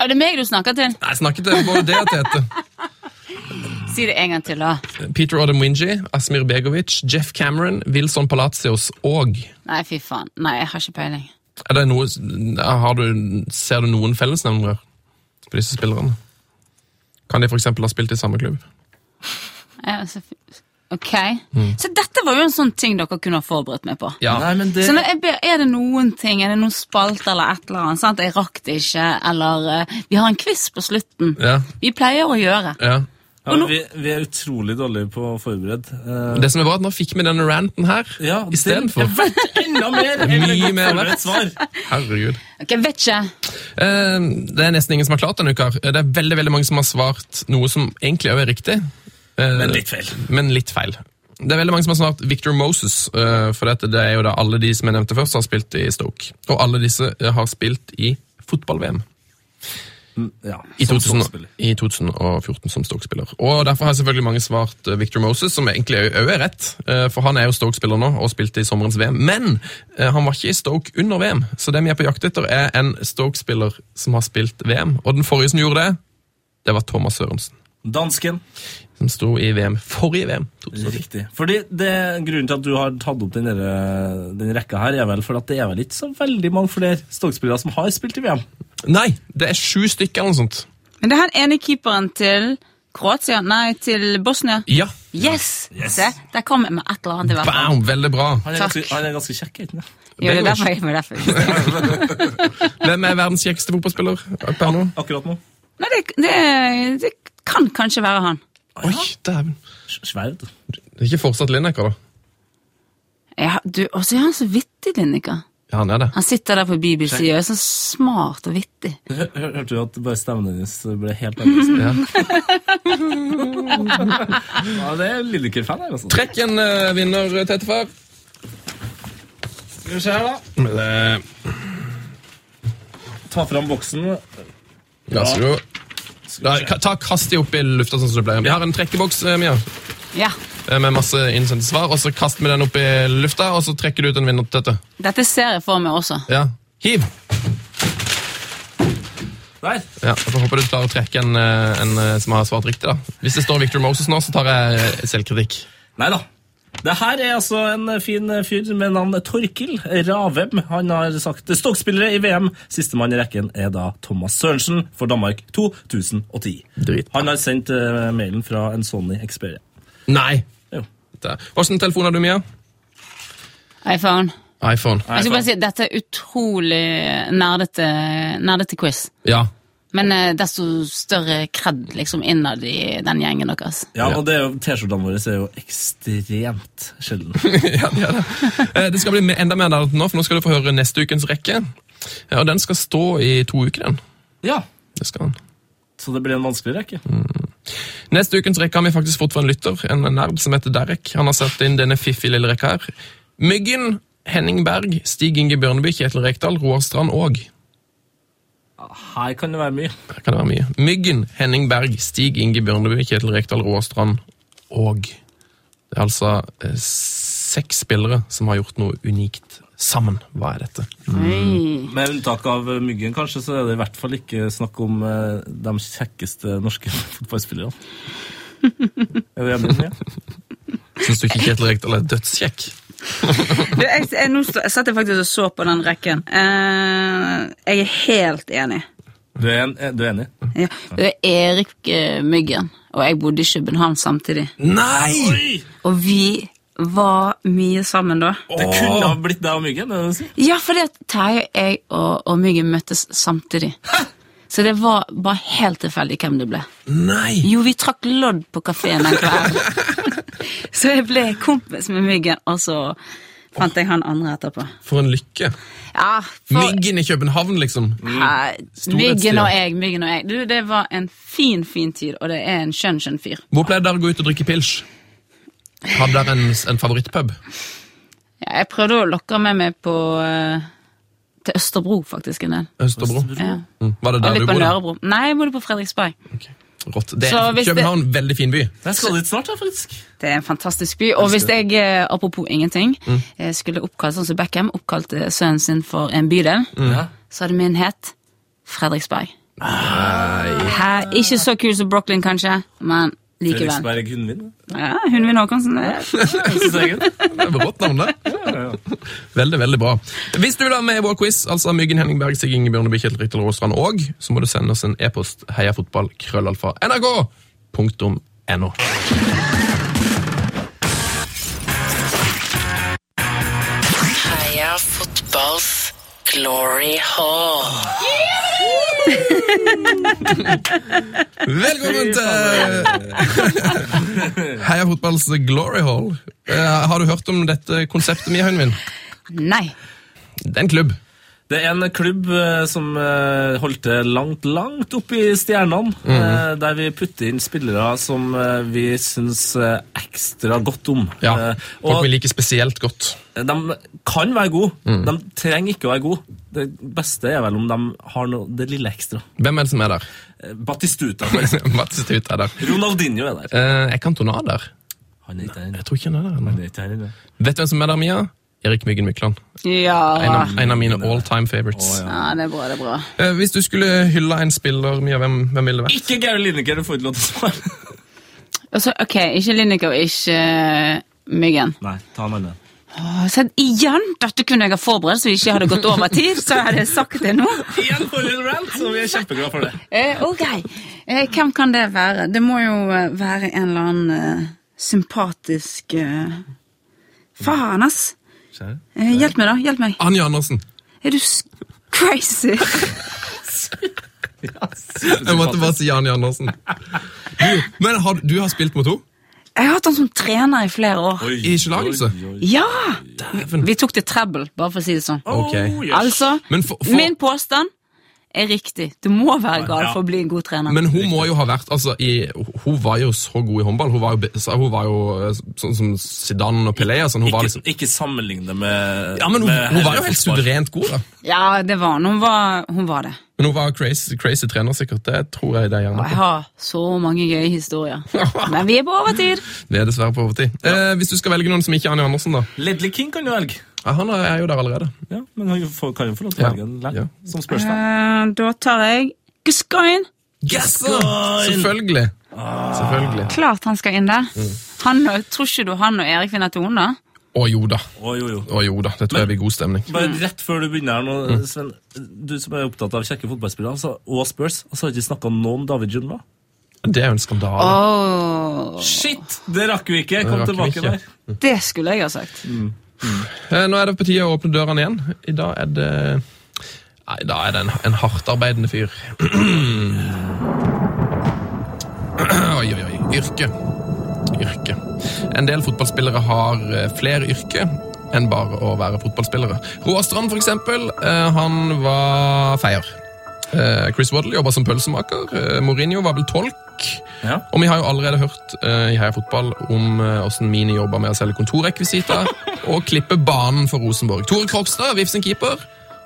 Speaker 6: Er det meg du snakker til?
Speaker 4: Nei, Jeg snakket om både det at det heter.
Speaker 6: Si det en gang til, da.
Speaker 4: Peter Odom Wingy, Asmir Begovic, Jeff Cameron, Wilson Palacios og
Speaker 6: Nei, fy faen. Nei, jeg har ikke peiling.
Speaker 4: er det noe, har du, Ser du noen fellesnevnere på disse spillerne? Kan de f.eks. ha spilt i samme klubb?
Speaker 6: Jeg, altså, fy- ok. Så dette var jo en sånn ting dere kunne ha forberedt meg på.
Speaker 4: Mm. Ja.
Speaker 5: Nei, men det...
Speaker 6: Så når jeg ber, Er det noen ting, er det noen spalt eller et eller annet? Sant? Jeg rakk det ikke, eller eh, Vi har en quiz på slutten.
Speaker 4: Ja,
Speaker 6: Vi pleier å gjøre.
Speaker 4: ja.
Speaker 5: Ja, men vi, vi er utrolig dårlige på å forberede. Eh,
Speaker 4: Det som er bra, er at nå fikk vi denne ranten her
Speaker 5: ja, Det
Speaker 4: istedenfor.
Speaker 5: er verdt enda mer enn et
Speaker 4: Mye
Speaker 5: godt
Speaker 4: mer verdt.
Speaker 5: forberedt svar.
Speaker 4: Herregud.
Speaker 6: Ok, vet ikke.
Speaker 4: Eh, Det er nesten ingen som har klart denne uka. her. Det er veldig veldig mange som har svart noe som egentlig også er riktig. eh,
Speaker 5: Men litt feil.
Speaker 4: Men litt feil. Det er veldig mange som har svart Victor Moses, eh, for dette, det er jo da alle de som jeg nevnte først, har spilt i Stoke. Og alle disse eh, har spilt i fotball-VM.
Speaker 5: Ja,
Speaker 4: I,
Speaker 5: som
Speaker 4: 2000,
Speaker 5: ståspiller.
Speaker 4: I 2014 som Stoke-spiller. Og Derfor har selvfølgelig mange svart eh, Victor Moses, som egentlig òg er rett. eh, For han er jo Stoke-spiller nå og spilte i sommerens VM. Men eh, han var ikke i Stoke under VM, så det vi er på jakt etter, er en Stoke-spiller som har spilt VM. Og den forrige som gjorde det, det var Thomas Sørensen.
Speaker 5: Dansken.
Speaker 4: Som sto i VM forrige VM. 2010.
Speaker 5: Riktig. Fordi det, Grunnen til at du har tatt opp den, der, den rekka her, er vel for at det er vel ikke så veldig mange flere Stoke-spillere som har spilt i VM.
Speaker 4: Nei, det er sju stykker eller noe sånt.
Speaker 6: Men det er han ene keeperen til Kroatia, nei, til Bosnia.
Speaker 4: Ja,
Speaker 6: Yes! Se, der kom jeg med et eller annet i hvert fall.
Speaker 4: bam, veldig bra.
Speaker 5: Han er,
Speaker 6: Takk.
Speaker 5: ganske, han er ganske kjekk, er han ikke det?
Speaker 6: Jo, det
Speaker 4: Det
Speaker 6: er
Speaker 4: var
Speaker 6: derfor jeg var derfor. [laughs]
Speaker 4: Hvem er verdens kjekkeste fotballspiller per nå?
Speaker 5: Akkurat nå.
Speaker 6: Nei, det, det, det kan kanskje være han.
Speaker 4: Oi, dæven.
Speaker 5: S- Svær. vet du.
Speaker 4: Det er ikke fortsatt Lineker, da.
Speaker 6: Ja, du, og så er han så vittig, Linnika.
Speaker 4: Ja, han er det.
Speaker 6: Han sitter der på BBC og er så smart og vittig.
Speaker 5: Hør- hør- Hørte du at bare stemmen hennes ble helt annerledes?
Speaker 4: Ja.
Speaker 5: Ja, det er Lineker-fan her, altså.
Speaker 4: Trekk en eh, vinner, Tettefar.
Speaker 5: Skal vi se her, da.
Speaker 4: Men det
Speaker 5: Ta fram boksen.
Speaker 4: ja. så jo. Da,
Speaker 5: Skal vi se.
Speaker 4: ka- ta Kast de opp i lufta, sånn som det pleier. Vi har en trekkeboks eh, Mia,
Speaker 6: Ja,
Speaker 4: eh, med masse innsendte svar. og Så kast vi den opp i lufta, og så trekker du ut en vinner. Tette.
Speaker 6: dette ser jeg for meg også.
Speaker 4: Ja. Hiv!
Speaker 5: Der.
Speaker 4: Ja, og så Håper du klarer å trekke en, eh, en eh, som har svart riktig. da. Hvis det står Victor Moses nå, så tar jeg eh, selvkritikk.
Speaker 5: Nei da. Det her er altså en fin fyr med navn Torkil Ravem. Han har sagt Stoke-spillere i VM. Sistemann i rekken er da Thomas Sørensen for Danmark 2010.
Speaker 4: Drit.
Speaker 5: Han har sendt eh, mailen fra en Sony Xperia.
Speaker 4: Nei!
Speaker 5: Jo.
Speaker 4: Det- Hva slags telefon har du, Mia?
Speaker 6: iPhone.
Speaker 4: iPhone.
Speaker 6: Jeg skal bare si, Dette er utrolig nerdete, nerdete quiz.
Speaker 4: Ja.
Speaker 6: Men eh, desto større kred liksom, innad i den gjengen deres.
Speaker 5: Ja, og det er jo- T-skjortene våre er jo ekstremt sjelden. [laughs]
Speaker 4: ja, det er det. Eh, Det skal bli me- enda mer der nå, for nå skal du få høre neste ukens rekke. Ja, Og den skal stå i to uker, den.
Speaker 5: Ja,
Speaker 4: Det skal den.
Speaker 5: Så det blir en vanskelig rekke.
Speaker 4: Neste ukens rekke har vi faktisk fått fra en lytter, en nerd som heter Derek. Han har satt inn denne fiffige lille rekka her. Myggen, Henning Berg, Stig Inge Bjørneby, Kjetil Rekdal, Roar Strand og
Speaker 5: Her kan det være mye.
Speaker 4: Her kan det være mye. Myggen, Henning Berg, Stig Inge Bjørneby, Kjetil Rekdal, Roar Strand og Det er altså eh, seks spillere som har gjort noe unikt sammen. Hva er dette?
Speaker 6: Mm. Oi.
Speaker 5: Med unntak av eh, Myggen, kanskje, så er det i hvert fall ikke snakk om eh, de kjekkeste norske [laughs] fotballspillerne. Er du enig? Mia?
Speaker 4: Syns du ikke Kjetil Rekdal er dødskjekk?
Speaker 6: Du, jeg, jeg, nå sto- jeg satt jeg faktisk og så på den rekken. Eh, jeg er helt enig.
Speaker 5: Du er, en, eh, du er enig?
Speaker 6: Ja. Det er Erik eh, Myggen, og jeg bodde i København samtidig.
Speaker 4: Nei!
Speaker 6: Og vi var mye sammen da.
Speaker 5: Det kunne ha blitt deg og Myggen. er det det du sier?
Speaker 6: Ja, fordi at Terje, jeg og, og Myggen møttes samtidig. Så det var bare helt tilfeldig hvem det ble.
Speaker 4: Nei!
Speaker 6: Jo, vi trakk lodd på kafeen den kvelden. [laughs] så jeg ble kompis med Myggen, og så fant jeg han andre etterpå.
Speaker 4: For en lykke.
Speaker 6: Ja, for
Speaker 4: Myggen i København, liksom.
Speaker 6: Nei,
Speaker 4: Storhetstida.
Speaker 6: Myggen og jeg, Myggen og jeg. Du, det var en fin, fin tid, og det er en skjønn, skjønn fyr.
Speaker 4: Hvor pleide dere å gå ut og drikke pils? Hadde dere en, en favorittpub?
Speaker 6: Ja, jeg prøvde å lokke med meg på eh, til Østerbro, faktisk, en del.
Speaker 4: Østerbro?
Speaker 6: Ja.
Speaker 4: Mm. Var det
Speaker 6: Og
Speaker 4: der du
Speaker 6: litt på
Speaker 4: bodde?
Speaker 6: Nørrebro. Nei, jeg bodde på Fredriksberg.
Speaker 4: Ok. Rått. Det
Speaker 6: Så
Speaker 4: er
Speaker 6: hvis det-
Speaker 4: København, veldig fin by.
Speaker 5: Jeg skal dit snart, jeg, faktisk.
Speaker 6: Det er en fantastisk by. Og hvis jeg, eh, apropos ingenting,
Speaker 4: Mm.
Speaker 6: eh, skulle oppkalt sånn som Beckham oppkalte sønnen sin for en bydel,
Speaker 4: Mm.
Speaker 6: så hadde min het Fredriksberg. Hæ, ikke så kul som Brooklyn, kanskje, men likevel.
Speaker 5: Fredriksberg Hundvin.
Speaker 6: Ja, Hundvin Håkonsen.
Speaker 4: [laughs]
Speaker 6: det-
Speaker 5: [laughs]
Speaker 4: Det er Rått navn,
Speaker 6: [laughs]
Speaker 4: det. [laughs] Veldig, veldig bra. Hvis du vil være med i vår quiz, altså Myggen Henning Berg, Sig Inge Bjørneby, Kjetil Rikdal Råstrand og, så må du sende oss en e-post heiafotballkrøllalfa.nrk.no.
Speaker 7: Heia fotballs glory hall.
Speaker 4: Velkommen til Heia fotballs glory hall. Eh, Har du hørt om dette konseptet, Mia Hønvin?
Speaker 6: Nei.
Speaker 4: Det er en klubb.
Speaker 5: Det er en klubb eh, som eh, holdt til langt, langt opp i stjernene, eh, der vi putter inn spillere som eh, vi syns eh, ekstra godt om.
Speaker 4: Ja,
Speaker 5: Eh,
Speaker 4: Folk
Speaker 5: og
Speaker 4: vi liker spesielt godt.
Speaker 5: de kan være gode. De trenger ikke å være gode. Det beste er vel om de har noe, det lille ekstra.
Speaker 4: Hvem er det som er der? [laughs]
Speaker 5: Eh, Batistuta, for [laughs] eksempel.
Speaker 4: Batistut er der.
Speaker 5: Ronaldinho er der.
Speaker 4: Eh, er Cantona der?
Speaker 5: Han er ikke her ennå.
Speaker 4: Jeg tror ikke han er der ennå.
Speaker 5: Han er ikke her ennå.
Speaker 4: Vet du hvem som er der, Mia? Erik Myggen Mykland. En
Speaker 6: Ja.
Speaker 4: av, en av mine all time favorites.
Speaker 6: ja, det er bra, det er bra.
Speaker 4: Eh, hvis du skulle hylle en spiller, Mia, hvem, hvem ville det vært?
Speaker 5: Ikke Gary Lineker, du får ikke lov til å svare.
Speaker 6: Og så, ok, ikke Lineker og ikke eh, Myggen.
Speaker 5: Nei, ta en annen.
Speaker 6: Åh, så igjen, dette kunne jeg ha forberedt, så vi ikke hadde gått over tid, så jeg hadde sagt [laughs] det nå.
Speaker 5: Igjen for Little Rant, og vi er kjempeglade for det.
Speaker 6: Eh, ok, eh, hvem kan det være? Det må jo eh, være en eller annen eh, sympatisk... Eh... Faen, ass! Eh, hjelp meg da, hjelp meg.
Speaker 4: Anja Andersen.
Speaker 6: Er du s- crazy?
Speaker 4: Jeg måtte bare si Anja Andersen. Du, men har, du har spilt mot henne?
Speaker 6: Jeg har hatt han som trener i flere år.
Speaker 4: I Slagelse?
Speaker 6: Ja! Vi tok det treble, bare for å si det sånn.
Speaker 4: Ok.
Speaker 6: Altså,
Speaker 4: Men, for, for,
Speaker 6: min påstand er riktig. Du må være gal for å bli en god trener.
Speaker 4: men hun må jo ha vært altså, i, Hun var jo så god i håndball. Hun var jo, be- så- hun var jo eh, sånn som Zidane og Pelé. og Sånn, hun var
Speaker 5: Ikke,
Speaker 4: liksom,
Speaker 5: ikke sammenligne det med
Speaker 4: ja, men hun,
Speaker 5: med
Speaker 4: hun var jo helt
Speaker 5: fotball.
Speaker 4: suverent god, da.
Speaker 6: Ja, det var hun. Hun var, hun var det.
Speaker 4: Men hun var crazy, crazy trener, sikkert. Det tror jeg det er
Speaker 6: Og
Speaker 4: gjerne.
Speaker 6: jeg har så mange gøye
Speaker 4: [laughs]
Speaker 6: historier. Men vi er på overtid.
Speaker 4: Vi er dessverre på overtid. Eh, hvis du skal velge noen som ikke er Anja Andersen, da?
Speaker 5: Ledley King kan jo velge.
Speaker 4: Ja, han er jo der allerede.
Speaker 5: Ja, men han får- kan jo få lov til å
Speaker 4: Ja.
Speaker 5: velge en
Speaker 4: Ja.
Speaker 5: lenge, som spørsmål.
Speaker 6: Eh, da tar jeg Guskain.
Speaker 4: Selvfølgelig.
Speaker 5: Ah.
Speaker 4: Selvfølgelig.
Speaker 6: Klart han skal inn der.
Speaker 4: Mm.
Speaker 6: Han, og- tror ikke du han og Erik vinner tonen, da?
Speaker 4: Å jo da.
Speaker 5: Å, jo, jo.
Speaker 4: Å jo da. Det tror jeg blir god stemning.
Speaker 5: Bare rett før du begynner her nå,
Speaker 4: Mm.
Speaker 5: Sven, du som er opptatt av kjekke fotballspillere, altså, og Spurs, og så har vi ikke snakka noe om David Junva.
Speaker 4: Det er jo en skandale.
Speaker 6: Åh,
Speaker 5: Shit! Det rakk vi ikke. Kom
Speaker 4: rakk vi
Speaker 5: tilbake
Speaker 4: ikke.
Speaker 5: der.
Speaker 6: det skulle jeg ha sagt.
Speaker 4: Eh, Nå er det på tide å åpne dørene igjen. I dag er det Nei, da er det en, en hardtarbeidende fyr. [clears throat] oi, oi, oi. Yrke. Yrke. En del fotballspillere har eh, flere yrke enn bare å være fotballspillere. Roar Strand, for eksempel, eh, han var feier. Eh, Chris Waddle jobba som pølsemaker. Eh, Mourinho var vel tolk.
Speaker 5: Ja.
Speaker 4: Og vi har jo allerede hørt eh, i Heia Fotball om eh, hvordan Mini jobber med å selge kontorrekvisitter og klippe banen for Rosenborg. Tore Krogstad, VIF sin keeper.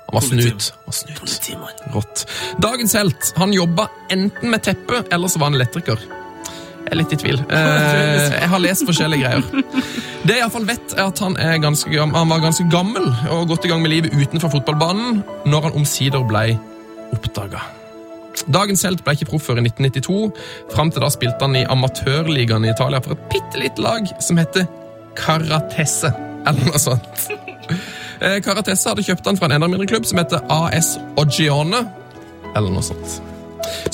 Speaker 4: Han var snut. Han var snut. Rått. Dagens helt. Han jobba enten med teppe, eller så var han elektriker. Jeg er litt i tvil. Eh, jeg har lest forskjellige greier. Det jeg iallfall vet, er at han, er ganske, gam- han var ganske gammel og godt i gang med livet utenfor fotballbanen når han omsider ble oppdaga. Dagens helt ble ikke proff før i 1992. Fram til da spilte han i amatørligaen i Italia for et bitte lite lag som heter Caratesse, eller noe sånt. Eh, Caratesse hadde kjøpt han fra en enda mindre klubb som heter AS Ogione, eller noe sånt.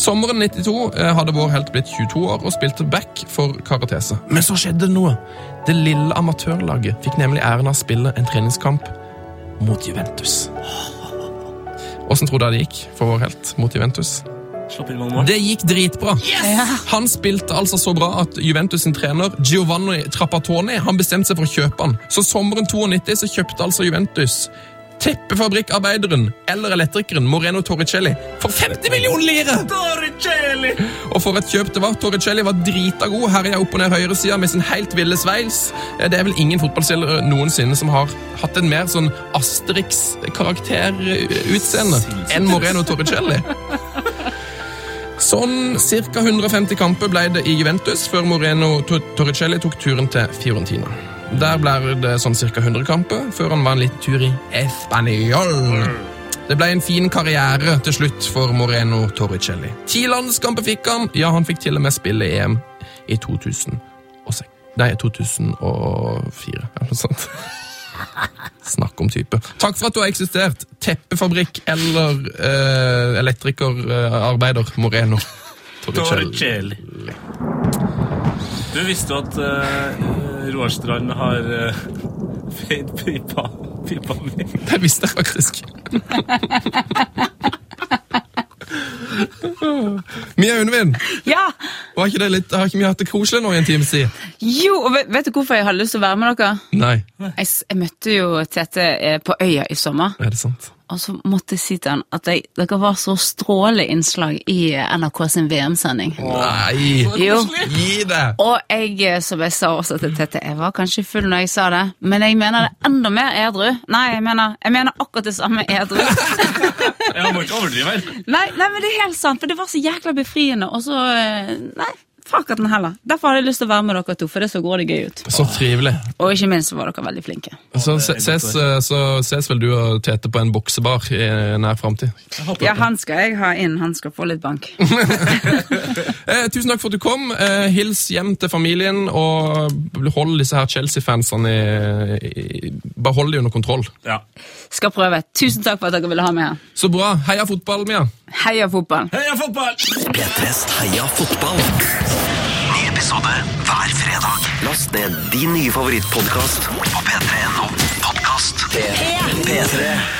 Speaker 4: Sommeren 92 eh, hadde vår helt blitt 22 år og spilte back for Karatese. Men så skjedde det noe. Det lille amatørlaget fikk nemlig æren av å spille en treningskamp mot Juventus. Åssen tror du det gikk for vår helt mot Juventus?
Speaker 5: Slapp inn mange mål.
Speaker 4: Det gikk dritbra. Han spilte altså så bra at Juventus sin trener Giovanni Trapattoni han bestemte seg for å kjøpe han. Så sommeren 92 så kjøpte altså Juventus teppefabrikkarbeideren eller elektrikeren Moreno Torricelli for 50 millioner lire! Og for et kjøp det var. Torricelli var drita god, herja opp og ned høyresida med sin helt ville sveis. Eh, Det er vel ingen fotballspillere noensinne som har hatt en mer sånn Asterix-karakterutseende enn Moreno Torricelli. Sånn ca. 150 kamper ble det i Juventus før Moreno Tor- Torricelli tok turen til Fiorentina. Der ble det sånn ca. 100 kamper før han var en liten tur i Español. Det ble en fin karriere til slutt for Moreno Torricelli. Ti landskamper fikk han. Ja, han fikk til og med spille i EM i 2006. Nei, 2004, eller noe sånt. [laughs] Snakk om type. Takk for at du har eksistert. Teppefabrikk eller eh, elektrikerarbeider Moreno. Torricelli.
Speaker 5: Torricelli. Du visste jo at uh, Roar Strand har eh, [laughs] feid pipa, pipa mi.
Speaker 4: [laughs] Det visste jeg faktisk. Mia Undvin,
Speaker 6: Ja!
Speaker 4: var ikke det litt, har ikke vi hatt det koselig nå i en times tid?
Speaker 6: Jo, og vet, vet du hvorfor jeg hadde lyst til å være med dere?
Speaker 4: Nei,
Speaker 6: Jeg, s- jeg møtte jo Tete eh, på Øya i sommer.
Speaker 4: er det sant?
Speaker 6: og så måtte jeg si til han at jeg, dere var så strålende innslag i eh, NRK sin VM-sending.
Speaker 4: Nei!
Speaker 6: Jo.
Speaker 4: Gi deg!
Speaker 6: Og jeg, eh, som jeg sa også til Tete, jeg var kanskje full når jeg sa det, men jeg mener det enda mer edru. Nei, jeg mener, jeg mener akkurat det samme edru.
Speaker 5: Jeg må ikke overdrive her.
Speaker 6: Nei, nei, men det er helt sant, for det var så jækla befriende, og så eh, Nei, fuck at den heller. Derfor hadde jeg lyst til å være med dere to, for det så går det gøy ut.
Speaker 4: Så trivelig.
Speaker 6: Og ikke minst så var dere veldig flinke.
Speaker 4: Så se- ses, eh, så ses vel du og Tete på en boksebar i nær framtid.
Speaker 6: Ja, han skal jeg ha inn, han skal få litt bank.
Speaker 4: Eh, tusen takk for at du kom. Eh, hils hjem til familien, og hold disse her Chelsea-fansene i, i, Bare hold de under kontroll.
Speaker 5: Ja.
Speaker 6: Skal prøve. Tusen takk for at dere ville ha meg her.
Speaker 4: Så bra. Heia fotball, Mia!
Speaker 6: Heia fotballen!
Speaker 5: Heia fotball!
Speaker 3: P3s Heia fotball. Ny episode hver fredag. Last ned din nye favorittpodkast på p3.no. Podkast P3.